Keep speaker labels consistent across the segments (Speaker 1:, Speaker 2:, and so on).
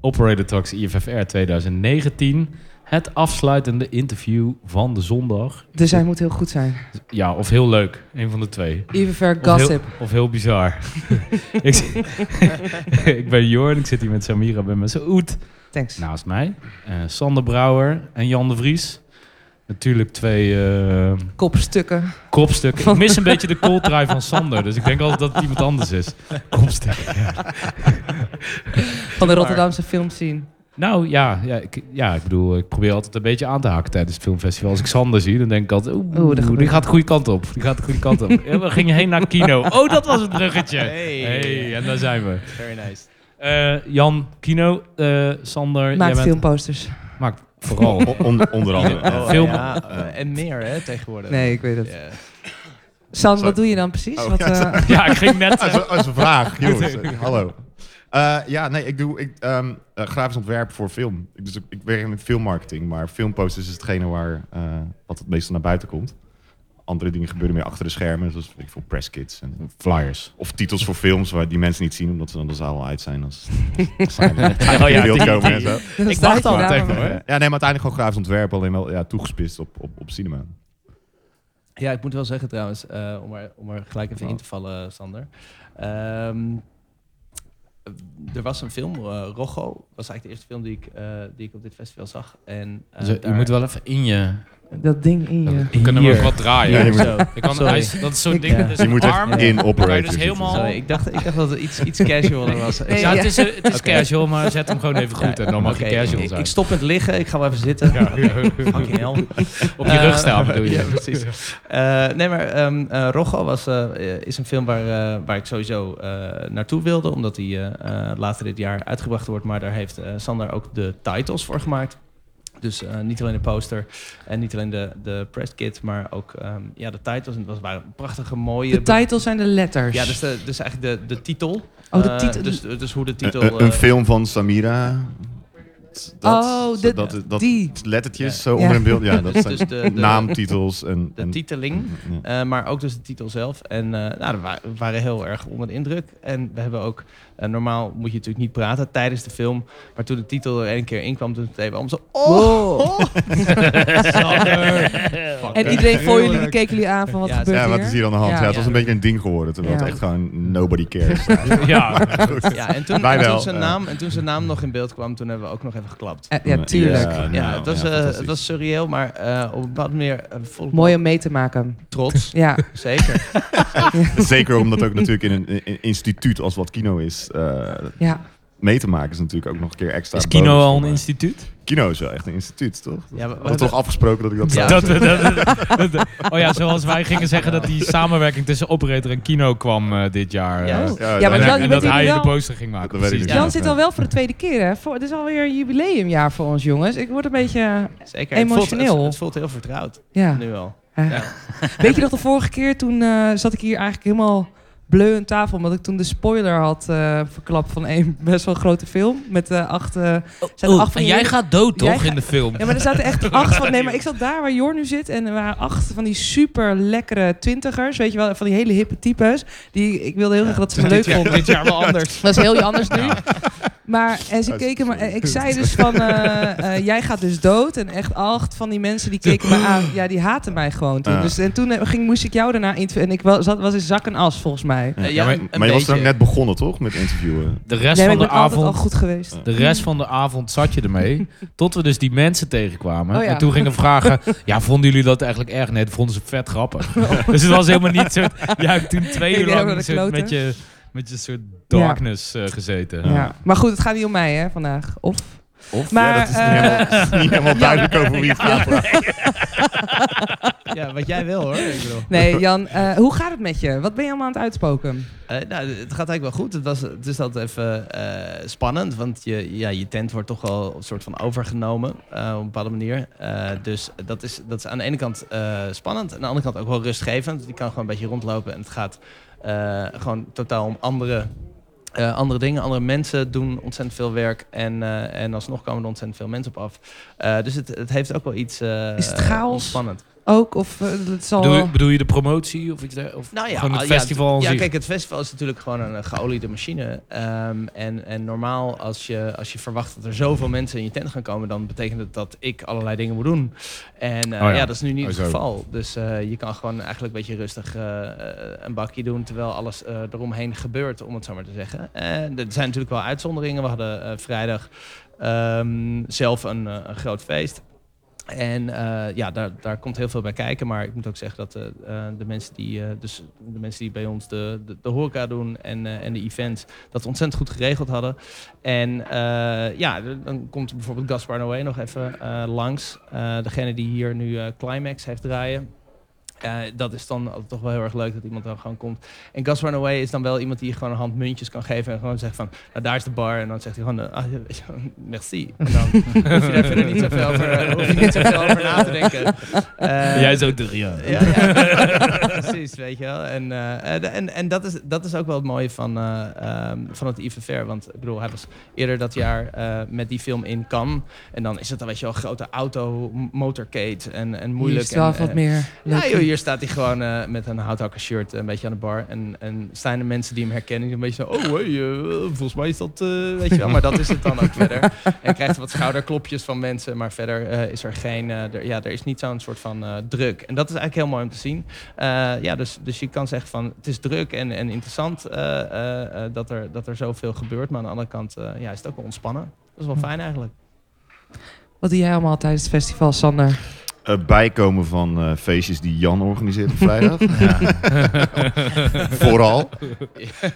Speaker 1: Operator Talks IFFR 2019. Het afsluitende interview van de zondag.
Speaker 2: Dus hij moet heel goed zijn.
Speaker 1: Ja, of heel leuk. Een van de twee.
Speaker 2: Even ver
Speaker 1: Of heel,
Speaker 2: gossip.
Speaker 1: of heel bizar. ik, zit- ik ben Jorn, ik zit hier met Samira, ben met Oet.
Speaker 2: Thanks.
Speaker 1: Naast mij eh, Sander Brouwer en Jan de Vries. Natuurlijk twee eh,
Speaker 2: Kopstukken.
Speaker 1: kopstukken. Ik mis een beetje de cold drive van Sander, dus ik denk altijd dat het iemand anders is. Kopstukken.
Speaker 2: Van de Rotterdamse filmscene.
Speaker 1: Nou ja, ja, ik, ja, ik bedoel, ik probeer altijd een beetje aan te haken tijdens het filmfestival. Als ik Sander zie, dan denk ik altijd, oeh,
Speaker 2: Oeh, dat
Speaker 1: die
Speaker 2: gebeurt.
Speaker 1: gaat de goede kant op. Die gaat de goede kant op. En we gingen heen naar Kino. Oh, dat was het bruggetje.
Speaker 3: Hey.
Speaker 1: hey en daar zijn we.
Speaker 3: Very nice.
Speaker 1: Eh, Jan, Kino, eh, Sander. jij
Speaker 2: Maakt
Speaker 1: bent-
Speaker 2: filmposters.
Speaker 1: Maakt vooral.
Speaker 4: O- onder, onder andere.
Speaker 3: Oh,
Speaker 4: ja. Ah,
Speaker 1: Film.
Speaker 3: ja, eh, en meer, hè, tegenwoordig.
Speaker 2: Nee, ik weet het.
Speaker 3: Ja.
Speaker 2: San, wat
Speaker 4: Sorry.
Speaker 2: doe je dan precies?
Speaker 4: Oh,
Speaker 2: Wat,
Speaker 4: ja,
Speaker 2: eh,
Speaker 1: ja, ik ging net...
Speaker 4: Dat is, een- dat is een vraag, jongens. Eh, Hallo. Eh, ja, nee, ik doe ik, ehm, eh, grafisch ontwerp voor film. Ik, dus ik, ik werk in filmmarketing, maar filmposters is hetgene waar eh, wat het meeste naar buiten komt. Andere dingen gebeuren meer achter de schermen, zoals weet ik veel presskits en
Speaker 1: Flyers.
Speaker 4: Of titels voor films waar die mensen niet zien, omdat ze dan de zaal al uit zijn. Als, als ze
Speaker 1: Oh ja,
Speaker 4: in beeld
Speaker 1: die-
Speaker 4: komen en
Speaker 1: die-
Speaker 4: zo.
Speaker 2: dan
Speaker 1: Ik
Speaker 2: sta
Speaker 1: wacht al
Speaker 2: hier
Speaker 1: tegen
Speaker 2: daar.
Speaker 1: hoor.
Speaker 4: Ja, nee, maar uiteindelijk gewoon grafisch ontwerp, alleen wel ja, toegespitst op, op, op cinema.
Speaker 3: Ja, ik moet wel zeggen trouwens, eh, om, er, om er gelijk even
Speaker 4: Oh.
Speaker 3: in te vallen, Sander. Ehm, er was een film, eh Rocco, was eigenlijk de eerste film die ik, eh, die ik op dit festival zag. En, eh,
Speaker 1: Dus je
Speaker 3: daar-
Speaker 1: moet wel even in je...
Speaker 2: Dat ding in je.
Speaker 1: We kunnen we
Speaker 3: Hier.
Speaker 1: ook wat draaien.
Speaker 4: Ja, je moet-
Speaker 3: Zo,
Speaker 1: Je kan,
Speaker 3: sorry.
Speaker 1: hij is- dat is zo'n
Speaker 2: Ik-
Speaker 1: ding,
Speaker 3: ja.
Speaker 1: dat is
Speaker 4: Je
Speaker 1: een
Speaker 4: moet
Speaker 1: arm.
Speaker 4: echt in
Speaker 1: Dan kan je
Speaker 3: Dan
Speaker 4: operator
Speaker 1: dus
Speaker 4: zitten.
Speaker 1: helemaal...
Speaker 3: Sorry, ik dacht, ik dacht dat het iets, iets casualer was.
Speaker 2: Nee,
Speaker 1: Ja,
Speaker 2: ja.
Speaker 1: het is, eh, het is
Speaker 3: Oké.
Speaker 1: casual, maar zet hem gewoon even goed en dan mag
Speaker 3: Oké,
Speaker 1: je casual
Speaker 3: ik,
Speaker 1: zijn.
Speaker 3: ik stop met liggen, ik ga wel even zitten.
Speaker 1: Ja.
Speaker 3: Fucking hell.
Speaker 1: Op je rug staan
Speaker 3: Eh,
Speaker 1: bedoel je?
Speaker 3: ja, precies. Eh, nee, maar ehm eh, Rocco was, eh, is een film waar, eh, waar ik sowieso eh, naartoe wilde. Omdat die eh, eh, later dit jaar uitgebracht wordt. Maar daar heeft eh, Sander ook de titles voor gemaakt. Dus eh, niet alleen de poster en niet alleen de, de press kit, maar ook ehm, ja, de titles. En het was, waren prachtige, mooie...
Speaker 2: De titels zijn de letters.
Speaker 3: Ja, dus, de, dus eigenlijk de, de titel.
Speaker 2: Oh, de
Speaker 3: Eh,
Speaker 2: titel.
Speaker 3: dus, dus hoe de titel...
Speaker 4: Een- een, een
Speaker 3: eh,
Speaker 4: film van Samira. Dat,
Speaker 2: Oh, de-
Speaker 4: dat, dat,
Speaker 2: die.
Speaker 4: Lettertjes
Speaker 3: Ja.
Speaker 4: zo
Speaker 2: Ja.
Speaker 4: onder een beeld. Ja, dat
Speaker 3: Dus-
Speaker 4: zijn
Speaker 3: dus de- de-
Speaker 4: naamtitels en...
Speaker 3: de
Speaker 4: en-
Speaker 3: titeling.
Speaker 4: Ja.
Speaker 3: Eh, maar ook dus de titel zelf. En eh, nou, we wa- we waren heel erg onder de indruk. En we hebben ook, eh, normaal moet je natuurlijk niet praten tijdens de film. Maar toen de titel er één keer in kwam, toen het even allemaal zo... Oh,
Speaker 2: Wow.
Speaker 3: Sander. Fuck.
Speaker 2: En iedereen voor jullie, die keken jullie aan van wat
Speaker 3: Ja,
Speaker 2: gebeurt
Speaker 4: Ja,
Speaker 2: hier?
Speaker 4: wat is hier aan de hand?
Speaker 3: Ja.
Speaker 4: Ja, het was
Speaker 3: Ja.
Speaker 4: een beetje een ding geworden. Terwijl
Speaker 2: Ja.
Speaker 4: het echt gewoon nobody cares.
Speaker 1: Ja,
Speaker 3: Ja, en toen,
Speaker 4: Wij
Speaker 3: en toen
Speaker 4: wel,
Speaker 3: zijn
Speaker 4: eh.
Speaker 3: naam, en toen zijn naam nog in beeld kwam, toen hebben we ook nog even geklapt.
Speaker 2: Eh, ja, tuurlijk.
Speaker 4: nou,
Speaker 3: Ja, het was, eh,
Speaker 4: fantastisch.
Speaker 3: het was surreëel, maar eh, op een bepaald manier eh, vol
Speaker 2: Mooi om mee te maken.
Speaker 3: trots.
Speaker 2: Ja,
Speaker 3: Zeker.
Speaker 4: Zeker omdat ook natuurlijk in een, in een instituut als wat kino is... eh,
Speaker 2: ja.
Speaker 4: mee te maken is natuurlijk ook nog een keer extra
Speaker 1: is Kino
Speaker 4: bonus,
Speaker 1: al een
Speaker 4: maar-
Speaker 1: instituut?
Speaker 4: Kino is wel echt een instituut, toch? We
Speaker 3: Ja, we- we
Speaker 4: hadden toch afgesproken dat ik dat
Speaker 3: Ja.
Speaker 4: zou
Speaker 1: Dat,
Speaker 4: zeggen.
Speaker 1: we- dat, dat- dat- oh ja, zoals wij gingen zeggen dat die samenwerking tussen operator en Kino kwam eh, dit jaar.
Speaker 3: Ja.
Speaker 1: eh.
Speaker 2: Oh.
Speaker 4: Ja,
Speaker 2: ja,
Speaker 1: En,
Speaker 2: maar Jan,
Speaker 1: en
Speaker 2: je
Speaker 1: dat
Speaker 2: bent
Speaker 1: hij
Speaker 2: hier
Speaker 1: de
Speaker 2: wel...
Speaker 1: poster ging maken.
Speaker 4: Dat weet ik
Speaker 1: precies.
Speaker 4: niet.
Speaker 2: Jan zit al wel voor de tweede keer, hè? Voor, het is alweer een jubileumjaar voor ons, jongens. Ik word een beetje...
Speaker 3: Zeker. Het voelt- het-
Speaker 2: Emotioneel.
Speaker 3: het voelt heel vertrouwd,
Speaker 2: Ja.
Speaker 3: nu al.
Speaker 2: Eh,
Speaker 3: Ja.
Speaker 2: Weet je nog de vorige keer toen eh, zat ik hier eigenlijk helemaal bleu aan tafel, omdat ik toen de spoiler had eh, verklapt van een best wel grote film met eh, acht. eh, zijn er acht van
Speaker 1: Oh, en
Speaker 2: die
Speaker 1: jij
Speaker 2: hele-
Speaker 1: gaat dood
Speaker 2: Jij
Speaker 1: toch
Speaker 2: gaat-
Speaker 1: in de film?
Speaker 2: Ja, maar er zaten echt acht van. Nee, maar ik zat daar waar Jor nu zit en er waren acht van die super lekkere twintigers, weet je wel, van die hele hippe types. Die ik wilde heel graag dat ze me leuk
Speaker 1: dit, jaar,
Speaker 2: vonden.
Speaker 1: dit jaar wel anders.
Speaker 2: Dat is heel anders nu. Maar en ze
Speaker 4: Dat is
Speaker 2: keken me.
Speaker 4: absurd.
Speaker 2: Ik zei dus van, eh, eh, jij gaat dus dood. En echt acht van die mensen die keken me aan. Ja, die haten mij gewoon toen.
Speaker 4: Ja.
Speaker 2: Dus en toen eh, ging, moest ik jou daarna interviewen. En ik was, zat, was in zak en as volgens mij.
Speaker 3: Eh, Ja,
Speaker 1: Ja, maar-
Speaker 3: een- een
Speaker 4: Maar je was er ook
Speaker 3: beetje.
Speaker 4: net begonnen, toch? Met interviewen.
Speaker 1: De rest van
Speaker 2: Nee, maar ik
Speaker 1: de
Speaker 2: ben altijd al
Speaker 1: avond
Speaker 2: goed geweest.
Speaker 1: De rest van de avond zat je ermee. Tot we dus die mensen tegenkwamen.
Speaker 2: Oh ja.
Speaker 1: En toen gingen we vragen. Ja, vonden jullie dat eigenlijk erg? Nee, dat vonden ze vet grappig. dus het was helemaal niet zo. Jij hebt toen twee
Speaker 2: Ik
Speaker 1: uur
Speaker 2: ben
Speaker 1: lang
Speaker 2: helemaal de
Speaker 1: soort-
Speaker 2: klote.
Speaker 1: met, je, met je soort darkness eh, gezeten.
Speaker 2: Ja.
Speaker 4: Ja.
Speaker 2: Maar goed, het gaat niet om mij hè, vandaag. Of?
Speaker 4: Of?
Speaker 2: Maar,
Speaker 4: ja, dat is
Speaker 2: eh,
Speaker 4: niet helemaal, niet helemaal duidelijk over wie het gaat.
Speaker 3: Ja, wat jij wil hoor. Ik bedoel.
Speaker 2: Nee, Jan, eh, hoe gaat het met je? Wat ben je allemaal aan het uitspoken?
Speaker 3: Eh, nou, het gaat eigenlijk wel goed. Het, was, het is altijd even eh, spannend, want je, ja, je tent wordt toch wel een soort van overgenomen eh, op een bepaalde manier. Eh, dus dat is, dat is aan de ene kant eh, spannend, aan de andere kant ook wel rustgevend. Je kan gewoon een beetje rondlopen en het gaat eh, gewoon totaal om andere, eh, andere dingen. Andere mensen doen ontzettend veel werk en, eh, en alsnog komen er ontzettend veel mensen op af. Eh, dus het, het heeft ook wel iets eh
Speaker 2: Is het chaos?
Speaker 3: spannend.
Speaker 2: ook? Of eh, het zal
Speaker 1: Bedoel,
Speaker 2: wel-
Speaker 1: je- bedoel je de promotie of iets der- of
Speaker 3: Nou ja,
Speaker 1: gewoon het
Speaker 3: ah,
Speaker 1: festival? aan
Speaker 3: Ja,
Speaker 1: zich?
Speaker 3: kijk, het festival is natuurlijk gewoon een eh, geoliede machine. Ehm, en, en normaal, als je, als je verwacht dat er zoveel mensen in je tent gaan komen, dan betekent het dat ik allerlei dingen moet doen. En eh,
Speaker 1: Oh ja.
Speaker 3: ja. dat is nu niet
Speaker 4: Oh,
Speaker 3: het
Speaker 4: zo.
Speaker 3: geval. Dus eh, je kan gewoon eigenlijk een beetje rustig eh, eh, een bakje doen, terwijl alles eh, eromheen gebeurt, om het zo maar te zeggen. En er zijn natuurlijk wel uitzonderingen. We hadden eh, vrijdag ehm, zelf een, eh, een groot feest. En eh, ja, daar, daar komt heel veel bij kijken. Maar ik moet ook zeggen dat eh, eh, de, mensen die, eh, dus de mensen die bij ons de, de, de horeca doen en, eh, en de events, dat ontzettend goed geregeld hadden. En eh, ja, d- dan komt bijvoorbeeld Gaspar Noé nog even eh, langs. Eh, degene die hier nu eh, Climax heeft draaien. Eh, dat is dan altijd toch wel heel erg leuk dat iemand dan gewoon komt. En Gaspar Noé is dan wel iemand die je gewoon een hand muntjes kan geven. En gewoon zegt van, nou daar is de bar. En dan zegt hij gewoon, eh, ah, merci. En dan hoef je daar verder niet zoveel over, eh, hoef je niet zoveel over na te denken. Eh,
Speaker 1: Jij is ook de ja.
Speaker 3: ja, ja. precies, weet je wel. En, eh, eh, de- en, en dat, is, dat is ook wel het mooie van, eh, ehm, van het Yves Fair. Want ik bedoel, hij was eerder dat jaar eh, met die film in Cannes. En dan is het dan, weet je wel, grote auto, m- motorcade en, en moeilijk.
Speaker 2: Hier is wel
Speaker 3: en,
Speaker 2: wat
Speaker 3: eh,
Speaker 2: meer.
Speaker 3: ja,
Speaker 2: leuk.
Speaker 3: joh, hier staat hij gewoon eh, met een houthakker shirt een beetje aan de bar. En, en zijn er mensen die hem herkennen, die een beetje zo... Oh, hey, eh, volgens mij is dat... eh, weet je wel, maar dat is het dan ook verder. En hij krijgt wat schouderklopjes van mensen. Maar verder eh, is er geen... eh, er, ja, er is niet zo'n soort van eh, druk. En dat is eigenlijk heel mooi om te zien. Eh, ja, dus, dus je kan zeggen van... Het is druk en, en interessant eh, eh, eh, dat, er, dat er zoveel gebeurt. Maar aan de andere kant eh, ja, is het ook wel ontspannen. Dat is wel fijn eigenlijk.
Speaker 2: Wat doe jij allemaal tijdens het festival, Sander?
Speaker 4: Eh, bijkomen van eh, feestjes die Jan organiseert op vrijdag. Vooral.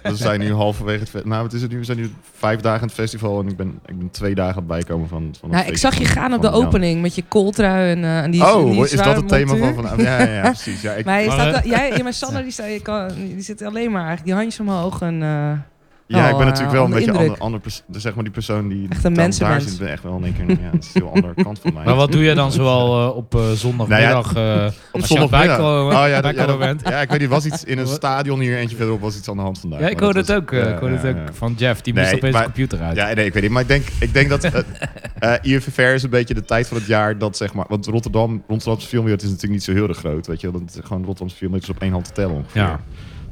Speaker 4: We zijn nu halverwege het festival. Nou, wat is het nu? We zijn nu vijf dagen aan het festival en ik ben, ik ben twee dagen aan het bijkomen van, van het
Speaker 2: Nou, ik
Speaker 4: feestje
Speaker 2: zag je
Speaker 4: van-
Speaker 2: gaan op de
Speaker 4: van Jan.
Speaker 2: opening met je kooltrui en, eh, en die en die
Speaker 4: Oh, is dat
Speaker 2: zware
Speaker 4: het thema
Speaker 2: montuur.
Speaker 4: van vanavond? Ja, ja, ja, precies. Ja, ik,
Speaker 2: Maar, je
Speaker 1: Maar,
Speaker 2: staat,
Speaker 1: eh,
Speaker 2: wel- jij, ja, maar Sander die, staat, je kan, die zit alleen maar eigenlijk die handjes omhoog en eh,
Speaker 4: ja, ik
Speaker 2: Oh,
Speaker 4: ben natuurlijk wel een
Speaker 2: eh,
Speaker 4: beetje
Speaker 2: onder
Speaker 4: ander, ander pers- dus zeg maar die persoon die
Speaker 2: Echt een
Speaker 4: dan daar
Speaker 2: mensenmens.
Speaker 4: zit, ben echt wel in één keer. Ja, dat is een heel andere kant van mij.
Speaker 1: Maar wat doe jij dan zoal eh, op eh, zondagmiddag? eh,
Speaker 4: Nou Op
Speaker 1: als je aan het
Speaker 4: zondagmiddag.
Speaker 1: bijkomen-
Speaker 4: Oh ja, dat- ja,
Speaker 1: bijkomen
Speaker 4: dat-
Speaker 1: bent?
Speaker 4: ja, ik weet niet, was iets in een
Speaker 1: Wat?
Speaker 4: stadion hier eentje verderop was iets aan de hand vandaag.
Speaker 1: Ja, ik
Speaker 4: maar dat
Speaker 1: hoorde het
Speaker 4: was-
Speaker 1: ook. eh,
Speaker 4: ja,
Speaker 1: ik hoorde het
Speaker 4: ja,
Speaker 1: ook
Speaker 4: ja.
Speaker 1: van Jeff. Die moest
Speaker 4: Nee,
Speaker 1: opeens de
Speaker 4: maar-
Speaker 1: computer uit.
Speaker 4: Ja, nee, ik weet niet. Maar ik denk, ik denk dat eh eh, IFFR is een beetje de tijd van het jaar dat zeg maar... Want Rotterdam, Rotterdamse filmwereld is natuurlijk niet zo heel erg groot. Weet je, wel. dat gewoon Rotterdamse filmwereld is op één hand te tellen ongeveer.
Speaker 1: Ja.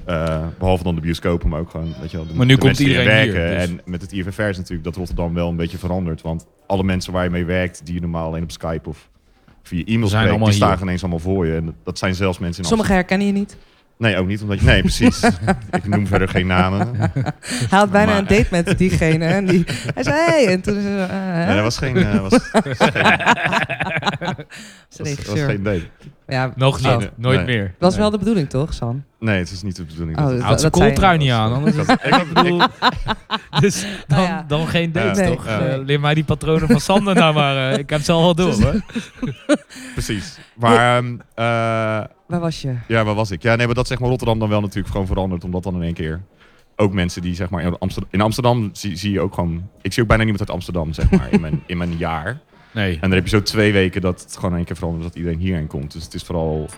Speaker 4: Eh, behalve dan de bioscopen, maar ook gewoon, weet je wel, de,
Speaker 1: Maar nu
Speaker 4: de
Speaker 1: komt
Speaker 4: mensen die
Speaker 1: iedereen
Speaker 4: erin werken.
Speaker 1: hier, dus.
Speaker 4: En met het IFFR is natuurlijk dat Rotterdam wel een beetje verandert. Want alle mensen waar je mee werkt, die je normaal alleen op Skype of via e-mail
Speaker 1: Zijn
Speaker 4: spreekt, die
Speaker 1: allemaal
Speaker 4: staan
Speaker 1: hier.
Speaker 4: ineens allemaal voor je. En dat zijn zelfs mensen in
Speaker 2: sommige herkennen je niet.
Speaker 4: Amsterdam. Nee, ook niet. Omdat je, nee, precies. ik noem verder geen namen.
Speaker 2: Hij had bijna
Speaker 4: Maar-
Speaker 2: een date met diegene. En die, hij zei, hey. En toen is ze, eh,
Speaker 4: Nee,
Speaker 2: hè?
Speaker 4: dat was geen, eh, was, was geen,
Speaker 2: Ze
Speaker 4: was, was
Speaker 2: regisseur.
Speaker 4: geen date.
Speaker 2: Ja,
Speaker 1: Nog niet.
Speaker 2: Oh.
Speaker 1: Nooit
Speaker 4: Nee.
Speaker 1: meer.
Speaker 2: was wel de bedoelling, toch, San?
Speaker 4: Nee, het is niet de bedoeling.
Speaker 2: Oh,
Speaker 4: dat het-
Speaker 1: Hij had zijn
Speaker 2: dat zei je.
Speaker 1: kooltrui niet aan.
Speaker 4: Ik
Speaker 1: Anders
Speaker 4: had- ik had-
Speaker 1: Ik bedoel, dus
Speaker 3: Oh,
Speaker 1: dan,
Speaker 2: Nou ja.
Speaker 1: dan geen dates,
Speaker 2: Nee,
Speaker 1: toch?
Speaker 2: nee.
Speaker 1: Eh, leer mij die patronen van Sander nou maar. eh, ik heb ze al wel door, hoor.
Speaker 4: precies. Maar ehm, eh,
Speaker 2: Waar was je?
Speaker 4: ja, waar was ik? Ja, nee, maar dat zeg maar Rotterdam dan wel natuurlijk gewoon veranderd, omdat dan in één keer ook mensen die zeg maar in Amsterdam, in Amsterdam zie, zie je ook gewoon, ik zie ook bijna niemand uit Amsterdam zeg maar in mijn, in mijn jaar.
Speaker 1: Nee.
Speaker 4: En dan heb je zo twee weken dat het gewoon in één keer verandert, dat iedereen hierheen komt. Dus het is vooral,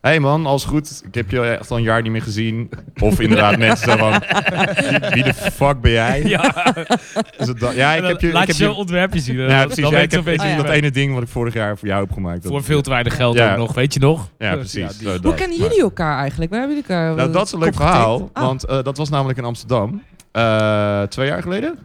Speaker 4: hey man, alles goed? Ik heb je echt al een jaar niet meer gezien. Of inderdaad mensen zo van, wie- wie de fuck ben jij? Ja,
Speaker 1: Ja,
Speaker 4: ja ik
Speaker 1: En dan
Speaker 4: heb je,
Speaker 1: laat
Speaker 4: ik heb
Speaker 1: je zo'n
Speaker 4: je,
Speaker 1: ontwerpje zien. Dan,
Speaker 4: ja, precies.
Speaker 1: dan
Speaker 4: Ja,
Speaker 1: weet
Speaker 4: ik
Speaker 1: je
Speaker 4: heb
Speaker 1: zo'n beetje
Speaker 2: Oh, ja.
Speaker 4: dat ene ding wat ik vorig jaar voor jou heb gemaakt. dat-
Speaker 1: voor veel te weinig geld
Speaker 4: Ja.
Speaker 1: ook nog, weet je nog?
Speaker 4: Ja, precies.
Speaker 1: die-
Speaker 4: Zo
Speaker 2: Hoe
Speaker 4: dat.
Speaker 2: kennen
Speaker 4: Maar-
Speaker 2: jullie elkaar eigenlijk? Waar hebben jullie elkaar
Speaker 4: Nou, dat is een leuk
Speaker 2: opgetikt?
Speaker 4: verhaal.
Speaker 2: Ah,
Speaker 4: Want eh, dat was namelijk in Amsterdam. Eh, twee jaar geleden?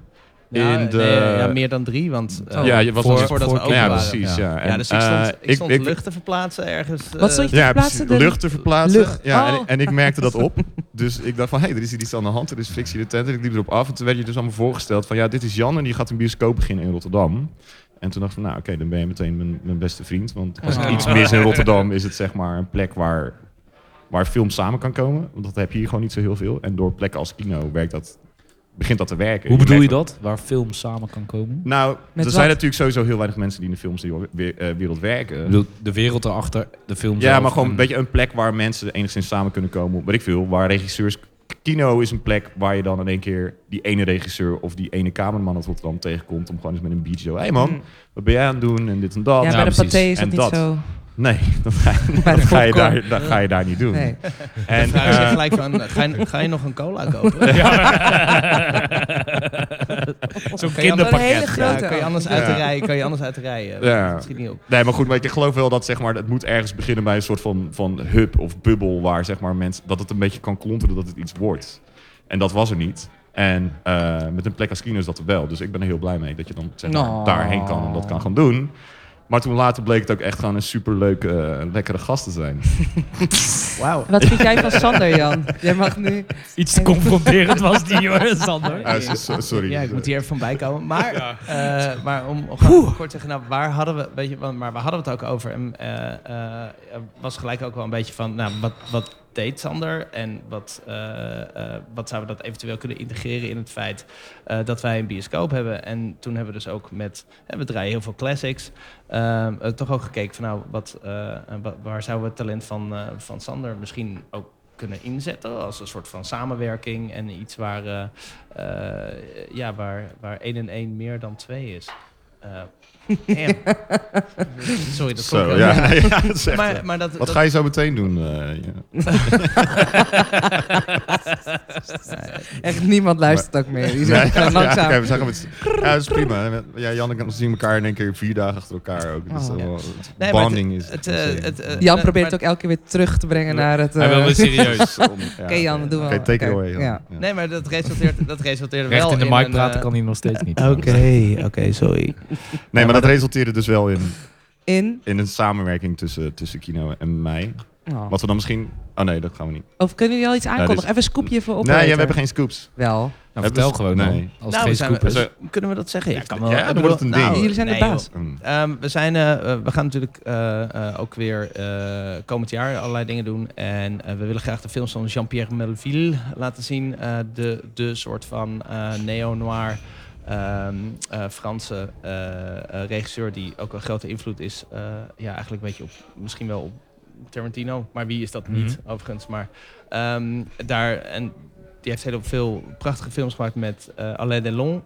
Speaker 3: Ja,
Speaker 4: in de...
Speaker 3: nee, ja, meer dan drie, want... eh,
Speaker 4: Ja, je was dus
Speaker 1: Voor-
Speaker 4: nog-
Speaker 3: voordat we open
Speaker 4: ja,
Speaker 3: waren.
Speaker 4: precies. Oh. Ja. En,
Speaker 3: ja, dus ik stond,
Speaker 4: eh,
Speaker 3: ik stond lucht te verplaatsen ergens. eh,
Speaker 2: Wat stond je-
Speaker 4: Ja,
Speaker 2: verplaatsen
Speaker 4: precies.
Speaker 2: de-
Speaker 4: Lucht te verplaatsen.
Speaker 2: Lucht.
Speaker 4: Ja, en,
Speaker 2: Oh.
Speaker 4: en ik merkte dat op. Dus ik dacht van, hé, hey, er is hier iets aan de hand. Er is fictie de tent. En ik liep erop af. En toen werd je dus allemaal voorgesteld van, ja, dit is Jan en die gaat een bioscoop beginnen in Rotterdam. En toen dacht ik van, nou oké, dan ben je meteen mijn, mijn beste vriend. Want als er
Speaker 1: Oh.
Speaker 4: iets mis in Rotterdam is het zeg maar een plek waar, waar film samen kan komen. Want dat heb je hier gewoon niet zo heel veel. En door plekken als kino werkt dat, begint dat te werken.
Speaker 1: Hoe bedoel
Speaker 4: merkt
Speaker 1: je dat? Waar film samen kan komen?
Speaker 4: Nou, er
Speaker 2: wat?
Speaker 4: zijn natuurlijk sowieso heel weinig mensen die in de filmwereld werken.
Speaker 1: Ik bedoel, de wereld erachter, de film
Speaker 4: Ja,
Speaker 1: zelf
Speaker 4: maar gewoon
Speaker 1: en-
Speaker 4: een beetje een plek waar mensen enigszins samen kunnen komen. Weet ik veel, waar regisseurs... Kino is een plek waar je dan in één keer die ene regisseur of die ene cameraman uit Rotterdam tegenkomt. Om gewoon eens met een beat zo, hé hey man, wat ben jij aan het doen? En dit en dat.
Speaker 2: Mm. ja,
Speaker 1: nou,
Speaker 2: bij de
Speaker 1: precies.
Speaker 2: paté is dat
Speaker 4: En
Speaker 2: niet
Speaker 4: dat.
Speaker 2: zo.
Speaker 4: Nee, dat ga je,
Speaker 2: Bij de
Speaker 4: dat ga je,
Speaker 2: popcorn.
Speaker 4: daar, dat ga je daar niet doen.
Speaker 2: Nee.
Speaker 4: En,
Speaker 3: Vraag je
Speaker 4: eh,
Speaker 3: gelijk van, ga je, ga je nog een cola kopen?
Speaker 1: Ja. Zo'n
Speaker 3: Kan je anders-
Speaker 1: kinderpakket.
Speaker 2: Een hele grote
Speaker 3: Ja, kan je anders
Speaker 2: ook.
Speaker 3: uit de
Speaker 4: Ja.
Speaker 3: rij, kan je anders uit de rij. eh,
Speaker 4: Ja.
Speaker 3: dat schiet niet op.
Speaker 4: Nee, maar goed, maar ik geloof wel dat zeg maar, het moet ergens beginnen bij een soort van, van hub of bubbel waar zeg maar, mensen, dat het een beetje kan klonteren dat het iets wordt. En dat was er niet. En eh, met een plek als Kino is dat er wel. Dus ik ben er heel blij mee dat je dan zeg maar,
Speaker 2: Nou.
Speaker 4: daarheen kan en dat kan gaan doen. Maar toen later bleek het ook echt gewoon een superleuke, eh, lekkere gast te zijn.
Speaker 3: Wauw.
Speaker 2: Wat vind jij van Sander, Jan? Jij mag nu...
Speaker 1: Iets te confronterend was die, hoor, Sander.
Speaker 4: Eh, so- so- sorry.
Speaker 3: Ja, ik moet hier even van bijkomen. Maar, eh, maar om om kort te zeggen, nou, waar hadden we, weet je, want- maar waar hadden we het ook over? En eh, eh, was gelijk ook wel een beetje van, nou, wat, wat deed Sander? En wat, eh, eh, wat zouden we dat eventueel kunnen integreren in het feit eh, dat wij een bioscoop hebben? En toen hebben we dus ook met, hè, we draaien heel veel classics, eh, eh, toch ook gekeken van, nou, wat, eh, eh, wa- waar zouden we het talent van, eh, van Sander misschien ook kunnen inzetten als een soort van samenwerking en iets waar... eh, eh, ja, waar, waar 1 en 1 meer dan 2 is. Eh, damn. Sorry, dat klonk
Speaker 4: Zo,
Speaker 3: heel-
Speaker 4: ja, nee, ja, dat is echt, eh.
Speaker 3: Maar, maar dat,
Speaker 4: Wat
Speaker 3: dat-
Speaker 4: ga je zo meteen doen? eh, ja.
Speaker 2: Echt niemand luistert ook meer. Die
Speaker 4: Nee,
Speaker 2: zegt gewoon
Speaker 4: ja,
Speaker 2: langzaam.
Speaker 4: oké, we zagen het. Ja, dat is prima. Ja, Jan en ik zien elkaar in één keer vier dagen achter elkaar ook.
Speaker 2: Oh.
Speaker 4: Dus dat
Speaker 3: Ja.
Speaker 4: wel-
Speaker 3: Nee, maar
Speaker 4: bonding is.
Speaker 3: het, eh,
Speaker 4: insane.
Speaker 3: het, eh,
Speaker 2: Jan
Speaker 3: eh,
Speaker 2: probeert het
Speaker 3: maar-
Speaker 2: ook elke keer weer terug te brengen naar het...
Speaker 1: Hij
Speaker 2: eh,
Speaker 1: wil weer serieus.
Speaker 4: Om- ja,
Speaker 2: Oké, Jan, dat doen we
Speaker 4: Oké,
Speaker 2: wel.
Speaker 4: take it
Speaker 2: Oh, Oké,
Speaker 4: away. Jan.
Speaker 2: ja.
Speaker 4: Ja.
Speaker 3: Nee, maar dat resulteert, dat resulteert wel eh,
Speaker 1: Recht in de mic
Speaker 3: markt
Speaker 1: praten kan hij nog steeds niet. Nou,
Speaker 3: oké, sorry.
Speaker 4: Nee,
Speaker 3: Ja,
Speaker 4: maar
Speaker 3: maar
Speaker 4: dat resulteerde dus wel in,
Speaker 2: In...
Speaker 4: in een samenwerking tussen, tussen Kino en mij.
Speaker 2: Oh.
Speaker 4: Wat we dan misschien... Oh nee, dat gaan we niet.
Speaker 2: Of kunnen jullie al iets aankondigen?
Speaker 4: dit is-
Speaker 2: Even een scoopje voor op.
Speaker 4: nee, ja, we hebben geen scoops.
Speaker 2: Wel.
Speaker 1: Nou, vertel gewoon
Speaker 4: Nee.
Speaker 1: dan. Als het
Speaker 3: Nou,
Speaker 1: geen
Speaker 3: zijn we-
Speaker 1: scoop is.
Speaker 4: Zo-
Speaker 3: Kunnen we dat zeggen? Ja, kan wel.
Speaker 4: Ja,
Speaker 3: Ik
Speaker 4: dan
Speaker 3: bedoel,
Speaker 4: wordt het een ding.
Speaker 3: nou,
Speaker 2: Jullie zijn de
Speaker 3: nee, joh.
Speaker 2: baas.
Speaker 4: Mm.
Speaker 3: Ehm, we, zijn, eh, eh, we gaan natuurlijk eh, eh, ook weer eh, komend jaar allerlei dingen doen. En eh, we willen graag de films van Jean-Pierre Melville laten zien. Eh, de, de soort van eh, neo-noir ehm, eh, Franse eh, eh, regisseur die ook een grote invloed is. eh, ja, eigenlijk een beetje op, misschien wel op Tarantino. Maar wie is dat niet, overigens. Maar ehm, daar, en die heeft heel veel prachtige films gemaakt met eh, Alain Delon.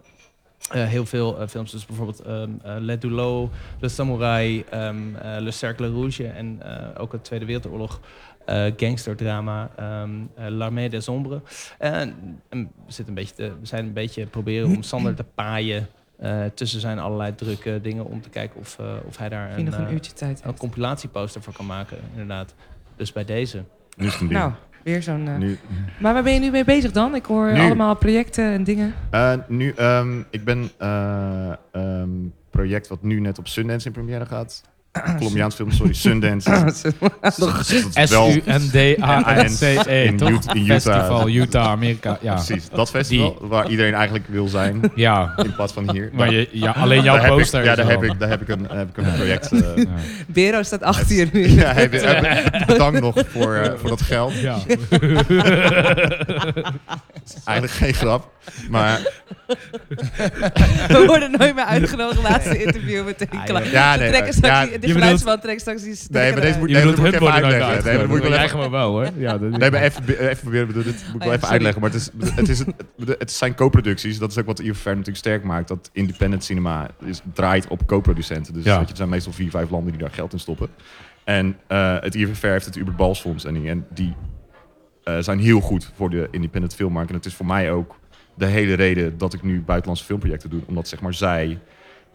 Speaker 3: Eh, heel veel eh, films, dus bijvoorbeeld ehm eh, Le Doulo, Le Samurai, ehm, eh, Le Cercle Rouge en eh, ook het Tweede Wereldoorlog eh, gangsterdrama ehm eh, L'Armée des Ombres. En, en we, zitten een beetje te- we zijn een beetje proberen om Sander te paaien eh, tussen zijn allerlei drukke dingen om te kijken of, eh, of hij daar
Speaker 2: Misschien
Speaker 3: een,
Speaker 2: nog een
Speaker 3: eh,
Speaker 2: uurtje tijd.
Speaker 3: een
Speaker 2: heeft.
Speaker 3: compilatieposter voor kan maken, inderdaad. Dus bij deze.
Speaker 4: Nu is het een ding.
Speaker 2: Nou, weer zo'n... eh,
Speaker 4: Nu,
Speaker 2: Maar waar ben je nu mee bezig dan? Ik hoor
Speaker 4: Nu.
Speaker 2: allemaal projecten en dingen.
Speaker 4: Eh, nu ehm, ik ben eh ehm, project wat nu net op Sundance in première gaat. Colombiaans film, sorry. Sundance. Dat is wel-
Speaker 1: S-U-N-D-A-N-C-E,
Speaker 4: In
Speaker 1: toch?
Speaker 4: Ut- in Utah.
Speaker 1: Festival, Utah, Amerika. Ja,
Speaker 4: Precies, dat festival waar iedereen eigenlijk wil zijn.
Speaker 1: ja.
Speaker 4: In plaats van hier.
Speaker 1: maar je, ja, alleen jouw
Speaker 4: Daar heb ik-
Speaker 1: poster
Speaker 4: Ja,
Speaker 1: is
Speaker 4: daar
Speaker 1: wel.
Speaker 4: heb ik, daar heb ik een, heb ik een project. eh,
Speaker 1: Ja.
Speaker 2: Bero staat achter je nu.
Speaker 4: ja, heb, heb- bedankt nog voor, eh, voor dat geld.
Speaker 1: Ja.
Speaker 4: Eigenlijk geen grap. Maar
Speaker 2: We worden nooit meer uitgenodigd. Laatste interview meteen
Speaker 3: Ah,
Speaker 2: klaar.
Speaker 4: ja,
Speaker 2: Ze
Speaker 4: nee.
Speaker 2: trekken
Speaker 4: eh, ja,
Speaker 2: straks, die- de
Speaker 1: Je
Speaker 2: geluidsman trekt straks die stekker
Speaker 4: nee, maar deze
Speaker 2: eruit.
Speaker 4: moet,
Speaker 1: Je
Speaker 4: nee, dat
Speaker 1: bedoelt
Speaker 4: moet ik
Speaker 1: hun
Speaker 4: even
Speaker 1: worden nooit
Speaker 4: uitleggen. Nee, maar dat moet ik wel
Speaker 1: Jij
Speaker 4: even,
Speaker 1: gewoon wel, hoor. Ja, dat-
Speaker 4: nee, maar even, be- even proberen. bedoel, Dit moet ik
Speaker 2: Oh ja,
Speaker 4: wel even
Speaker 2: sorry.
Speaker 4: uitleggen. Maar het, is, het, is, het, het zijn co-producties. Dat is ook wat de IFR natuurlijk sterk maakt. Dat independent cinema is, draait op co-producenten. Dus
Speaker 1: Ja.
Speaker 4: weet je, er zijn meestal vier, vijf landen die daar geld in stoppen. En eh, het IFR heeft het Uber Balls Fonds. En die, en die eh, zijn heel goed voor de independent filmmarkt. En het is voor mij ook de hele reden dat ik nu buitenlandse filmprojecten doe. Omdat zeg maar zij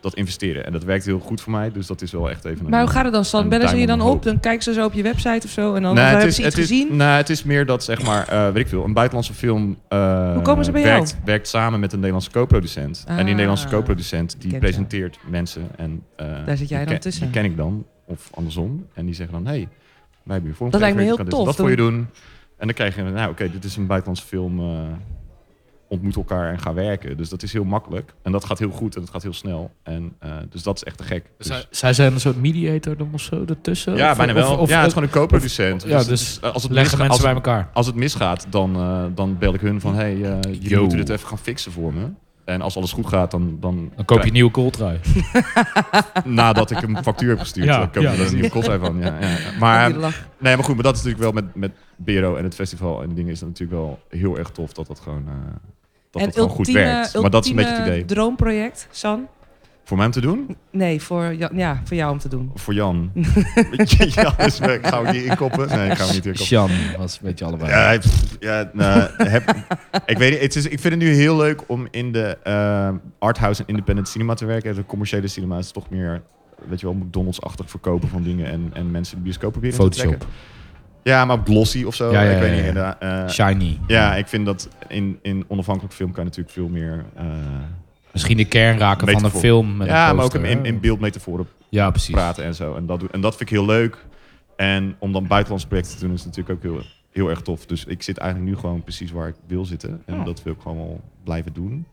Speaker 4: dat investeren. En dat werkt heel goed voor mij. Dus dat is wel echt even een...
Speaker 2: Maar hoe gaat het dan, Stan?
Speaker 4: Een
Speaker 2: Bellen ze je
Speaker 4: duim
Speaker 2: dan
Speaker 4: omhoog.
Speaker 2: op? Dan kijken ze zo op je website of zo? En dan
Speaker 4: Nee,
Speaker 2: of
Speaker 4: het
Speaker 2: hebben
Speaker 4: is,
Speaker 2: ze iets
Speaker 4: het is,
Speaker 2: gezien?
Speaker 4: nou, het is meer dat zeg maar, eh, weet ik veel, een buitenlandse film eh,
Speaker 2: Hoe komen ze bij jou?
Speaker 4: werkt, werkt samen met een Nederlandse co-producent. en
Speaker 2: Ah,
Speaker 4: die Nederlandse co-producent die
Speaker 2: kent
Speaker 4: presenteert mensen en eh,
Speaker 2: Daar zit jij
Speaker 4: die
Speaker 2: dan
Speaker 4: ken-
Speaker 2: tussen.
Speaker 4: Die ken ik dan of andersom en die zeggen dan, hé, hey, wij hebben hier voor
Speaker 2: Dat lijkt me heel
Speaker 4: Dat
Speaker 2: tof.
Speaker 4: voor je doen. En dan krijg je, nou oké, dit is een buitenlandse film. eh, ontmoet elkaar en ga werken. Dus dat is heel makkelijk. En dat gaat heel goed en dat gaat heel snel. En, eh, dus dat is echt te gek. Dus-
Speaker 1: Zij- Zij zijn een soort mediator dan of zo ertussen?
Speaker 4: ja,
Speaker 1: Of-
Speaker 4: bijna wel.
Speaker 1: of- of-
Speaker 4: ja, het is gewoon een co-producent.
Speaker 1: Ja,
Speaker 4: het
Speaker 1: dus
Speaker 4: is- eh, als het
Speaker 1: leggen
Speaker 4: misga- als
Speaker 1: mensen bij
Speaker 4: het-
Speaker 1: elkaar.
Speaker 4: als het misgaat, dan, eh, dan bel ik hun van... hey, eh, jullie
Speaker 1: Yo.
Speaker 4: moeten dit even gaan fixen voor me. En als alles goed gaat, dan... Dan,
Speaker 1: Dan koop je een nieuwe kooltrui.
Speaker 4: Nadat ik een factuur heb gestuurd,
Speaker 1: Ja,
Speaker 4: dan koop je
Speaker 1: ja.
Speaker 4: er een nieuwe kost van. Ja, ja. Maar,
Speaker 2: Die lach.
Speaker 4: nee, maar goed, maar dat is natuurlijk wel met, met Bero en het festival en dingen... is het natuurlijk wel heel erg tof dat dat gewoon, eh, dat
Speaker 2: en
Speaker 4: dat gewoon goed werkt. Maar dat is een beetje het idee.
Speaker 2: droomproject, San?
Speaker 4: Voor mij om te doen?
Speaker 2: Nee, voor, ja, ja, voor jou om te doen.
Speaker 4: Of voor Jan? Jan is weg. Gaan we die inkoppen? Nee, gaan we niet inkoppen.
Speaker 1: Sjan was een beetje allebei.
Speaker 4: Ja, hij- pff, ja, nou, heb- ik weet niet. Het is, ik vind het nu heel leuk om in de ehm, arthouse en independent cinema te werken. De commerciële cinema is toch meer, weet je wel, McDonald's-achtig verkopen van dingen en, en mensen de bioscoop proberen te
Speaker 1: Photoshop.
Speaker 4: trekken. Ja, maar op glossy of zo.
Speaker 1: Ja, ja,
Speaker 4: ik weet
Speaker 1: ja,
Speaker 4: niet.
Speaker 1: ja.
Speaker 4: inderdaad, eh,
Speaker 1: Shiny.
Speaker 4: ja, ik vind dat in, in onafhankelijk film kan je natuurlijk veel meer. eh,
Speaker 1: Misschien de kern raken van een
Speaker 4: Metafoor.
Speaker 1: film. Met
Speaker 4: ja,
Speaker 1: een
Speaker 4: maar ook
Speaker 1: poster,
Speaker 4: in, in
Speaker 1: hè?
Speaker 4: beeldmetaforen
Speaker 1: Ja, precies.
Speaker 4: praten en zo. En dat, doe- en dat vind ik heel leuk. En om dan buitenlandse projecten te doen is natuurlijk ook heel, heel erg tof. Dus ik zit eigenlijk nu gewoon precies waar ik wil zitten. En
Speaker 1: Oh.
Speaker 4: dat wil ik gewoon wel blijven doen.